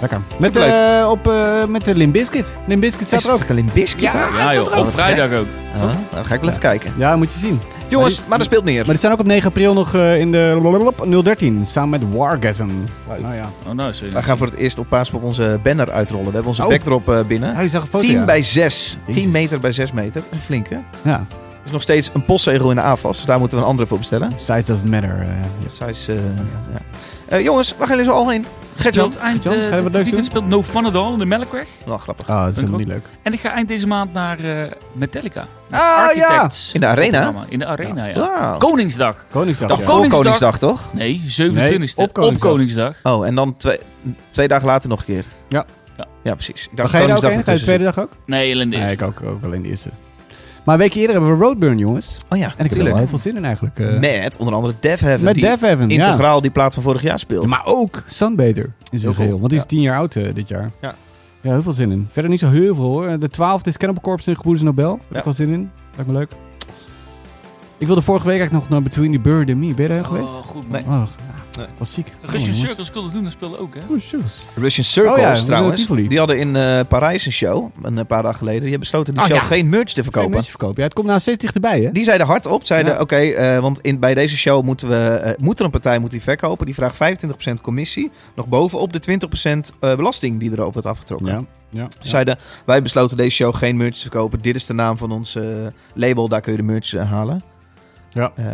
Speaker 1: Lekker. Met,
Speaker 3: Superleuk.
Speaker 1: eh, op, eh, met de Limbiskit. Limbiskit staat er ook.
Speaker 3: een Biscuit aan?
Speaker 2: Ja joh, op vrijdag ook.
Speaker 3: Ah, nou, dan ga ik wel even kijken.
Speaker 1: Ja, moet je zien. Maar
Speaker 3: Jongens,
Speaker 1: Maar
Speaker 3: maar er speelt meer.
Speaker 1: die staan ook op 9 april nog eh, in de 013. Samen met Wargasm.
Speaker 3: Leuk.
Speaker 1: Nou ja.
Speaker 2: Oh nou, sorry.
Speaker 3: Wij gaan voor het eerst op Paaspop onze banner uitrollen. We hebben onze
Speaker 1: Oh.
Speaker 3: backdrop eh, binnen.
Speaker 1: Hij zag een foto.
Speaker 3: 10
Speaker 1: ja.
Speaker 3: bij 6.
Speaker 1: Jezus.
Speaker 3: 10 meter bij 6 meter. Een flinke.
Speaker 1: Ja.
Speaker 3: Er is nog steeds een postzegel in de AFAS. Dus daar moeten we een andere voor bestellen.
Speaker 1: Size doesn't matter. eh.
Speaker 3: Size, eh, ja. Eh, jongens, waar gaan jullie zo al heen? Gertjan.
Speaker 2: Speelt eind,
Speaker 1: John,
Speaker 2: eh,
Speaker 1: ga je wat
Speaker 2: dit
Speaker 1: leuks
Speaker 2: weekend speelt No Fun At All in de Melkweg.
Speaker 3: Wel grappig.
Speaker 1: Oh, dat is
Speaker 2: Dank
Speaker 1: helemaal
Speaker 2: u.
Speaker 1: niet leuk.
Speaker 2: En ik ga eind deze maand naar eh, Metallica.
Speaker 1: Ah,
Speaker 2: Architects.
Speaker 3: In de arena?
Speaker 2: Programma. In de arena, ja.
Speaker 3: Wauw.
Speaker 2: Koningsdag.
Speaker 1: Koningsdag.
Speaker 3: Dag
Speaker 1: ja.
Speaker 3: voor
Speaker 2: Koningsdag.
Speaker 3: Koningsdag, toch?
Speaker 2: Nee, 27
Speaker 1: Nee, op
Speaker 2: op Koningsdag.
Speaker 1: Koningsdag.
Speaker 3: Oh, en dan twee, twee dagen later nog een keer.
Speaker 1: Ja.
Speaker 2: Ja.
Speaker 3: Ja, precies. Ik
Speaker 1: Maar
Speaker 3: dacht
Speaker 1: Ga je daar
Speaker 3: Koningsdag
Speaker 1: ook heen? Ga je de
Speaker 3: ertussen
Speaker 1: tweede dag ook?
Speaker 2: Nee, alleen de
Speaker 1: Nee,
Speaker 2: eerste.
Speaker 1: ik ook, ook alleen de eerste. Maar een weekje eerder hebben we Roadburn, jongens.
Speaker 3: zit. Oh ja,
Speaker 1: En ik heb er wel
Speaker 3: tuurlijk.
Speaker 1: heel veel zin in eigenlijk. eh.
Speaker 3: Met onder andere Dev Heaven.
Speaker 1: met
Speaker 3: die
Speaker 1: Dev Heaven, ja.
Speaker 3: integraal die plaat van vorig jaar speelt.
Speaker 1: Ja, Maar ook Sunbather in
Speaker 3: Heel
Speaker 1: zijn geheel.
Speaker 3: cool,
Speaker 1: Want die is
Speaker 3: ja.
Speaker 1: tien jaar oud eh, dit jaar.
Speaker 3: Ja.
Speaker 1: Ja, heel veel zin in. Verder niet zo heel veel hoor. De twaalfde is Cannibal Corpse in Gebroeders Nobel. Daar heb
Speaker 3: Ja.
Speaker 1: ik wel zin in. Lijkt me leuk. Ik wilde vorige week eigenlijk nog naar Between the Bird and Me. Ben je daar geweest?
Speaker 2: Oh, goed man.
Speaker 3: Nee.
Speaker 1: Oh,
Speaker 3: Nee.
Speaker 1: ik was ziek.
Speaker 2: Russian Circles konden doen, dat speelde ook, hè?
Speaker 1: Oh, shoes.
Speaker 3: Russian Circles
Speaker 1: Oh ja, hoe is
Speaker 3: trouwens.
Speaker 1: dat Tivoli?
Speaker 3: Die hadden in eh, Parijs een show, een eh, paar dagen geleden. Die hebben besloten die
Speaker 2: Oh,
Speaker 3: show
Speaker 2: ja.
Speaker 3: geen merch te verkopen.
Speaker 1: verkopen. Ja, het komt nou steeds dichterbij, hè?
Speaker 3: Die zeiden hardop, zeiden
Speaker 1: Ja.
Speaker 3: oké, eh, want in, bij deze show moeten we, eh, moet er een partij moet die verkopen. Die vraagt 25% commissie, nog bovenop de 20% eh, belasting die erop wordt afgetrokken.
Speaker 1: Ja. Ja.
Speaker 3: Zeiden, wij besloten deze show geen merch te verkopen. Dit is de naam van ons eh, label, daar kun je de merch eh, halen.
Speaker 1: Ja.
Speaker 3: Eh,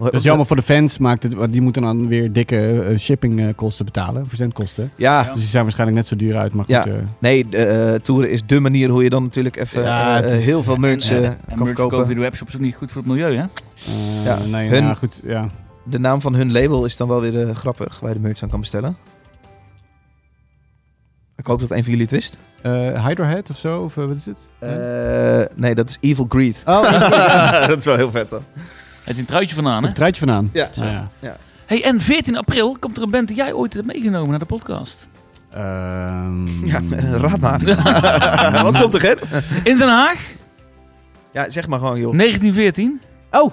Speaker 1: Dat is jammer voor de fans, maakt het, want die moeten dan weer dikke eh, shippingkosten betalen, verzendkosten.
Speaker 3: Ja,
Speaker 1: Dus die zijn waarschijnlijk net zo duur uit, maar goed.
Speaker 3: Ja.
Speaker 1: eh,
Speaker 3: nee, de, eh, toeren is de manier hoe je dan natuurlijk even
Speaker 1: Ja,
Speaker 3: eh,
Speaker 1: het is-
Speaker 3: heel veel merch eh,
Speaker 2: en,
Speaker 3: kan
Speaker 2: merch
Speaker 3: verkopen.
Speaker 2: verkopen via de webshop is ook niet goed voor het milieu, hè?
Speaker 1: eh,
Speaker 3: Ja,
Speaker 1: nee,
Speaker 3: hun-
Speaker 1: nou, goed, ja.
Speaker 3: De naam van hun label is dan wel weer eh, grappig, waar je de merch aan kan bestellen. Ik hoop dat een van jullie het wist.
Speaker 1: Eh Hydrohead of zo, of eh, wat is het?
Speaker 3: Eh, nee, dat is Evil Greed.
Speaker 1: Oh,
Speaker 3: dat is wel heel vet dan.
Speaker 2: Het een truitje vandaan, hè?
Speaker 1: het truitje vandaan.
Speaker 3: Ja.
Speaker 1: Nou ja.
Speaker 2: Hey, en 14 april komt er een band die jij ooit hebt meegenomen naar de podcast.
Speaker 1: Ehm,
Speaker 3: Ja,
Speaker 2: Mm.
Speaker 3: raad maar. Wat komt er, Gert?
Speaker 2: In Den Haag,
Speaker 3: Ja, zeg maar gewoon, joh.
Speaker 2: 1914.
Speaker 1: Oh,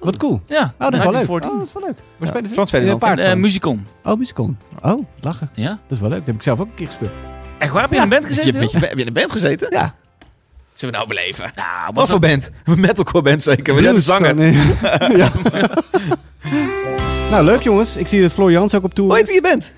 Speaker 1: wat cool.
Speaker 2: Ja,
Speaker 1: Oh, dat is wel leuk.
Speaker 2: 1914.
Speaker 1: Oh, dat is wel leuk. Waar
Speaker 3: Ja,
Speaker 1: spelen ze?
Speaker 3: Frans Ferdinand.
Speaker 1: In een
Speaker 2: Eh,
Speaker 1: paardgang.
Speaker 2: Musicon.
Speaker 1: oh, musicon. Oh, lachen.
Speaker 2: Ja?
Speaker 1: Dat is wel leuk. Dat heb ik zelf ook een keer gespeeld.
Speaker 2: Echt waar? Heb je in een band gezeten? joh?
Speaker 3: heb je in een band gezeten?
Speaker 1: Ja.
Speaker 3: Zullen we nou beleven?
Speaker 2: Nou,
Speaker 3: Wat
Speaker 2: was
Speaker 3: voor
Speaker 2: dat-
Speaker 3: band? Een metalcore band zeker. Maar ja, de
Speaker 1: Blues
Speaker 3: zanger.
Speaker 1: gewoon, eh, ja. nou, leuk jongens. Ik zie dat Floor Jans ook op tour
Speaker 3: Hoe heet
Speaker 1: is.
Speaker 3: die band?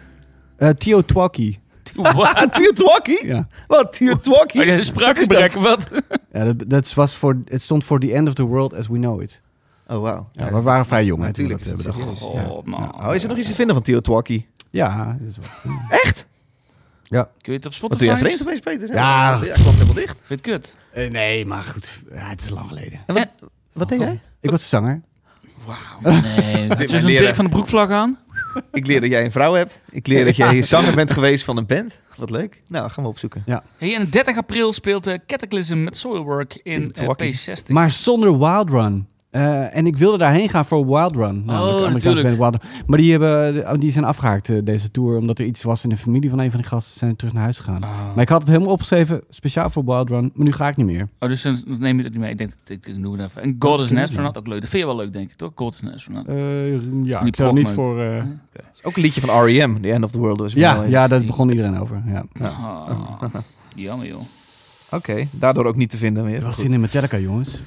Speaker 1: Eh, Theo Twaki.
Speaker 2: Wat?
Speaker 3: Ah, Tiotwaki?
Speaker 1: Ja,
Speaker 3: Wat, Tiotwaki?
Speaker 2: Oh, ja, spraakgebrek, wat?
Speaker 1: ja dat, dat was voor, het stond voor The End of the World as We Know It.
Speaker 3: Oh, wauw.
Speaker 1: Ja, we waren vrij jong. hè, toen
Speaker 3: Natuurlijk
Speaker 1: we
Speaker 3: is het
Speaker 1: dat hebben
Speaker 3: serieus. Ja.
Speaker 1: Nou,
Speaker 2: Oh, man.
Speaker 3: Oh, is er nog iets te vinden van Tiotwaki?
Speaker 1: Ja, dat is wel.
Speaker 3: Echt?
Speaker 2: Kun je het op
Speaker 3: Wat
Speaker 2: Spotify?
Speaker 3: doe jij vreemd opeens, Peter?
Speaker 1: Ja.
Speaker 3: Ja, kwam helemaal dicht.
Speaker 2: Vind je het kut?
Speaker 1: Eh, nee, maar goed. Ja, het is lang geleden.
Speaker 3: Wat deed jij?
Speaker 1: Ik was de zanger.
Speaker 2: Wauw. Nee. Dit
Speaker 3: Dit moet
Speaker 2: is dus een
Speaker 3: leren.
Speaker 2: Dirk van de broekvlag aan.
Speaker 3: Ik leer dat jij een vrouw hebt. Ik leer dat jij zanger bent geweest van een band. Wat leuk. Nou, gaan we opzoeken.
Speaker 2: Hey, en 30 april speelt de Cataclysm met Soilwork in eh,
Speaker 3: Milwaukee.
Speaker 2: P60.
Speaker 1: Maar zonder Wild Run. Eh, en ik wilde daarheen gaan voor Wild Run. namelijk de Amerikaanse
Speaker 2: natuurlijk.
Speaker 1: band Wild Run. Maar die, hebben, die zijn afgehaakt eh, deze tour. Omdat er iets was in de familie van een van die gasten. Zijn ze terug naar huis gegaan.
Speaker 2: Oh.
Speaker 1: Maar ik had het helemaal opgeschreven. Speciaal voor Wild Run. Maar nu ga ik niet meer.
Speaker 2: Oh, dus dan neem je dat niet mee. Ik denk, dat- ik, ik noem het even. En God is an Astronaut, ook leuk. Dat vind je wel leuk, denk ik, toch? God is an Astronaut.
Speaker 1: Eh, ja,
Speaker 2: Die
Speaker 1: ik zou niet
Speaker 2: progmeuk.
Speaker 1: voor... eh,
Speaker 3: Het is ook een liedje van R.E.M. The End of the World. Was
Speaker 1: Ja,
Speaker 3: mooi.
Speaker 1: ja,
Speaker 2: dat
Speaker 1: daar
Speaker 2: die-
Speaker 1: begon iedereen over. Ja.
Speaker 2: Ah, jammer, joh.
Speaker 3: Oké, daardoor ook niet te vinden meer.
Speaker 1: Er was
Speaker 3: Goed.
Speaker 1: zin in Metallica, jongens.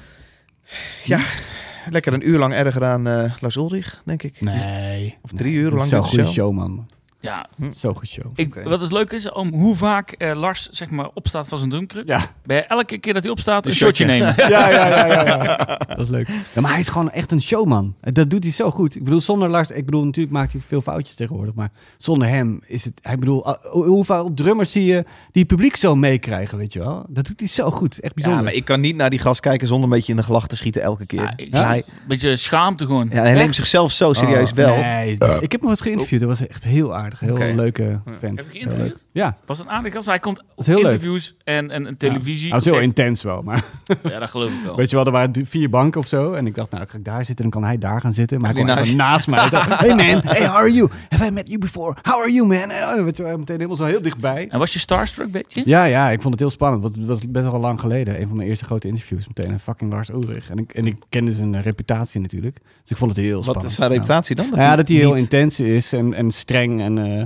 Speaker 3: Lekker een uur lang erger aan eh Lars Ulrich, denk ik.
Speaker 1: Nee.
Speaker 3: Of drie uur lang
Speaker 1: Zo'n
Speaker 3: dit
Speaker 1: goede
Speaker 3: show.
Speaker 1: show, man.
Speaker 2: Ja,
Speaker 1: Zo'n goede show.
Speaker 2: ik,
Speaker 3: Oké.
Speaker 2: wat het leuk is, om hoe vaak eh, Lars zeg maar, opstaat van zijn drumkruk.
Speaker 1: Ja.
Speaker 2: Bij elke keer dat hij opstaat, een shotje nemen.
Speaker 1: Ja, ja, ja, ja, Dat is leuk. Ja, maar hij is gewoon echt een showman. Dat doet hij zo goed. Ik bedoel, zonder Lars... Ik bedoel, natuurlijk maakt hij veel foutjes tegenwoordig. Maar zonder hem is het... Ik bedoel, ah, hoe- hoeveel drummers zie je die het publiek zo meekrijgen, weet je wel? Dat doet hij zo goed. Echt
Speaker 3: Ja,
Speaker 1: bijzonder.
Speaker 3: maar ik kan niet naar die gast kijken zonder een beetje in de gelach te schieten elke keer.
Speaker 2: Ja,
Speaker 3: Ja,
Speaker 2: ik-
Speaker 3: hij,
Speaker 2: Een beetje schaamte gewoon.
Speaker 3: ja, hij neemt zichzelf zo serieus
Speaker 1: Oh,
Speaker 3: wel.
Speaker 1: Nee, ik heb hem eens geïnterviewd. Dat was echt heel aardig. Heel
Speaker 3: Oké.
Speaker 1: leuke vent.
Speaker 2: Heb je geïnterviewd?
Speaker 1: Ja.
Speaker 2: Was een aardig gast. Hij komt op
Speaker 1: heel leuk.
Speaker 2: interviews en, en, en televisie.
Speaker 1: Hij was heel
Speaker 2: Oké.
Speaker 1: intens wel, maar...
Speaker 2: Ja, dat geloof
Speaker 3: Oh.
Speaker 2: ik wel.
Speaker 1: Weet je wel, er waren d- vier banken of zo. En ik dacht, nou, ga ik daar zitten, dan kan hij daar gaan zitten. Maar hij
Speaker 3: Kan
Speaker 1: kwam
Speaker 3: hij
Speaker 1: zo naast mij. Zo, hey man, hey, how are you? Have I met you before? How are you, man? En, eh, weet je wel, meteen helemaal zo heel dichtbij.
Speaker 2: En was je starstruck, beetje?
Speaker 1: Ja, ja, ik vond het heel spannend. Want het was best wel lang geleden. Een van mijn eerste grote interviews meteen. En fucking Lars Ulrich. En ik, en ik kende zijn eh, reputatie natuurlijk. Dus ik vond het heel
Speaker 3: Wat
Speaker 1: spannend.
Speaker 3: is zijn reputatie dan?
Speaker 1: Nou, ja, dat hij heel
Speaker 3: niet- Mm.
Speaker 1: intens is en, en streng. En, eh,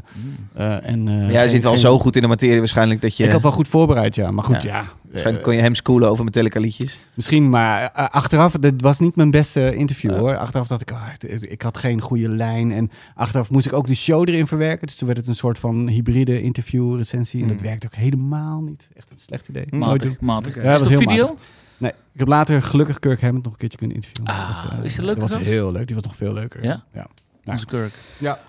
Speaker 1: eh, en, eh,
Speaker 3: Maar Jij zit wel
Speaker 1: geen-
Speaker 3: zo goed in de materie waarschijnlijk dat je...
Speaker 1: Ik had wel goed voorbereid, ja. Maar goed,
Speaker 3: Ja.
Speaker 1: ja. eh,
Speaker 3: Waarschijnlijk kon je hem schoolen over Metallica liedjes.
Speaker 1: Misschien, maar eh, achteraf, dat was niet mijn beste interview hoor. Achteraf dacht ik, ah, het- ik had geen goede lijn. En achteraf moest ik ook de show erin verwerken. Dus toen werd het een soort van hybride interview, recensie. En dat
Speaker 3: Mm.
Speaker 1: werkte ook helemaal niet. Echt een slecht idee. Nooit doen.
Speaker 2: Matig, matig.
Speaker 3: Oké.
Speaker 1: Ja,
Speaker 2: is
Speaker 1: dat
Speaker 2: het op
Speaker 1: heel
Speaker 2: video?
Speaker 1: Nee, ik heb later gelukkig Kirk Hammett nog een keertje kunnen interviewen.
Speaker 2: Ah,
Speaker 1: eh,
Speaker 2: is dat leuk
Speaker 1: Dat was
Speaker 2: gast?
Speaker 1: heel leuk. Die was nog veel leuker.
Speaker 2: Ja?
Speaker 1: ja.
Speaker 2: Onze Kirk.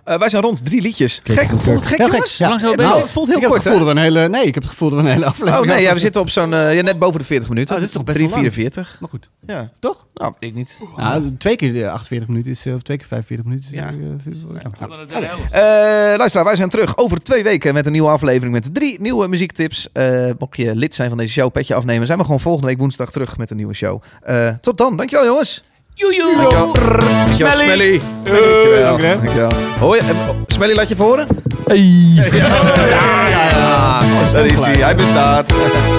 Speaker 3: Eh, wij zijn rond, drie liedjes.
Speaker 1: Kijk,
Speaker 3: gek,
Speaker 1: goed,
Speaker 3: voelt het
Speaker 1: gek.
Speaker 3: gek
Speaker 1: Heel
Speaker 3: jongens?
Speaker 1: gek, ja.
Speaker 2: Hoe lang zijn we
Speaker 3: Nou,
Speaker 2: bezig?
Speaker 3: het voelt heel
Speaker 1: ik heb
Speaker 3: kort
Speaker 1: het
Speaker 3: hè?
Speaker 1: gevoel dat we een hele... Nee, ik heb het gevoel dat we een hele aflevering
Speaker 3: Oh nee, ja, we
Speaker 1: hebben.
Speaker 3: zitten op zo'n... eh, ja, net boven de 40 minuten.
Speaker 1: Oh, dit is toch best wel lang.
Speaker 3: 3,44.
Speaker 1: Maar goed,
Speaker 3: Ja.
Speaker 1: toch?
Speaker 3: Nou, ik niet.
Speaker 1: Nou, twee keer eh, 48 minuten is... eh, Of twee keer 45 minuten is...
Speaker 3: Ja.
Speaker 1: eh, veel- ja.
Speaker 2: Tot aan de derde helft.
Speaker 3: Eh luisteraar, wij zijn terug over twee weken met een nieuwe aflevering met drie nieuwe muziektips. Eh mocht je lid zijn van deze show, petje afnemen, zijn we gewoon volgende week woensdag terug met een nieuwe show. Eh, tot dan, dankjewel jongens.
Speaker 2: Joejoe!
Speaker 3: Dankjewel. Dankjewel,
Speaker 2: Smelly.
Speaker 3: Smelly. Dankjewel. Dankjewel. Hoi, eh, oh, Smelly laat je voor horen? Hey. Ja, ja, ja. Daar is hij, hij bestaat.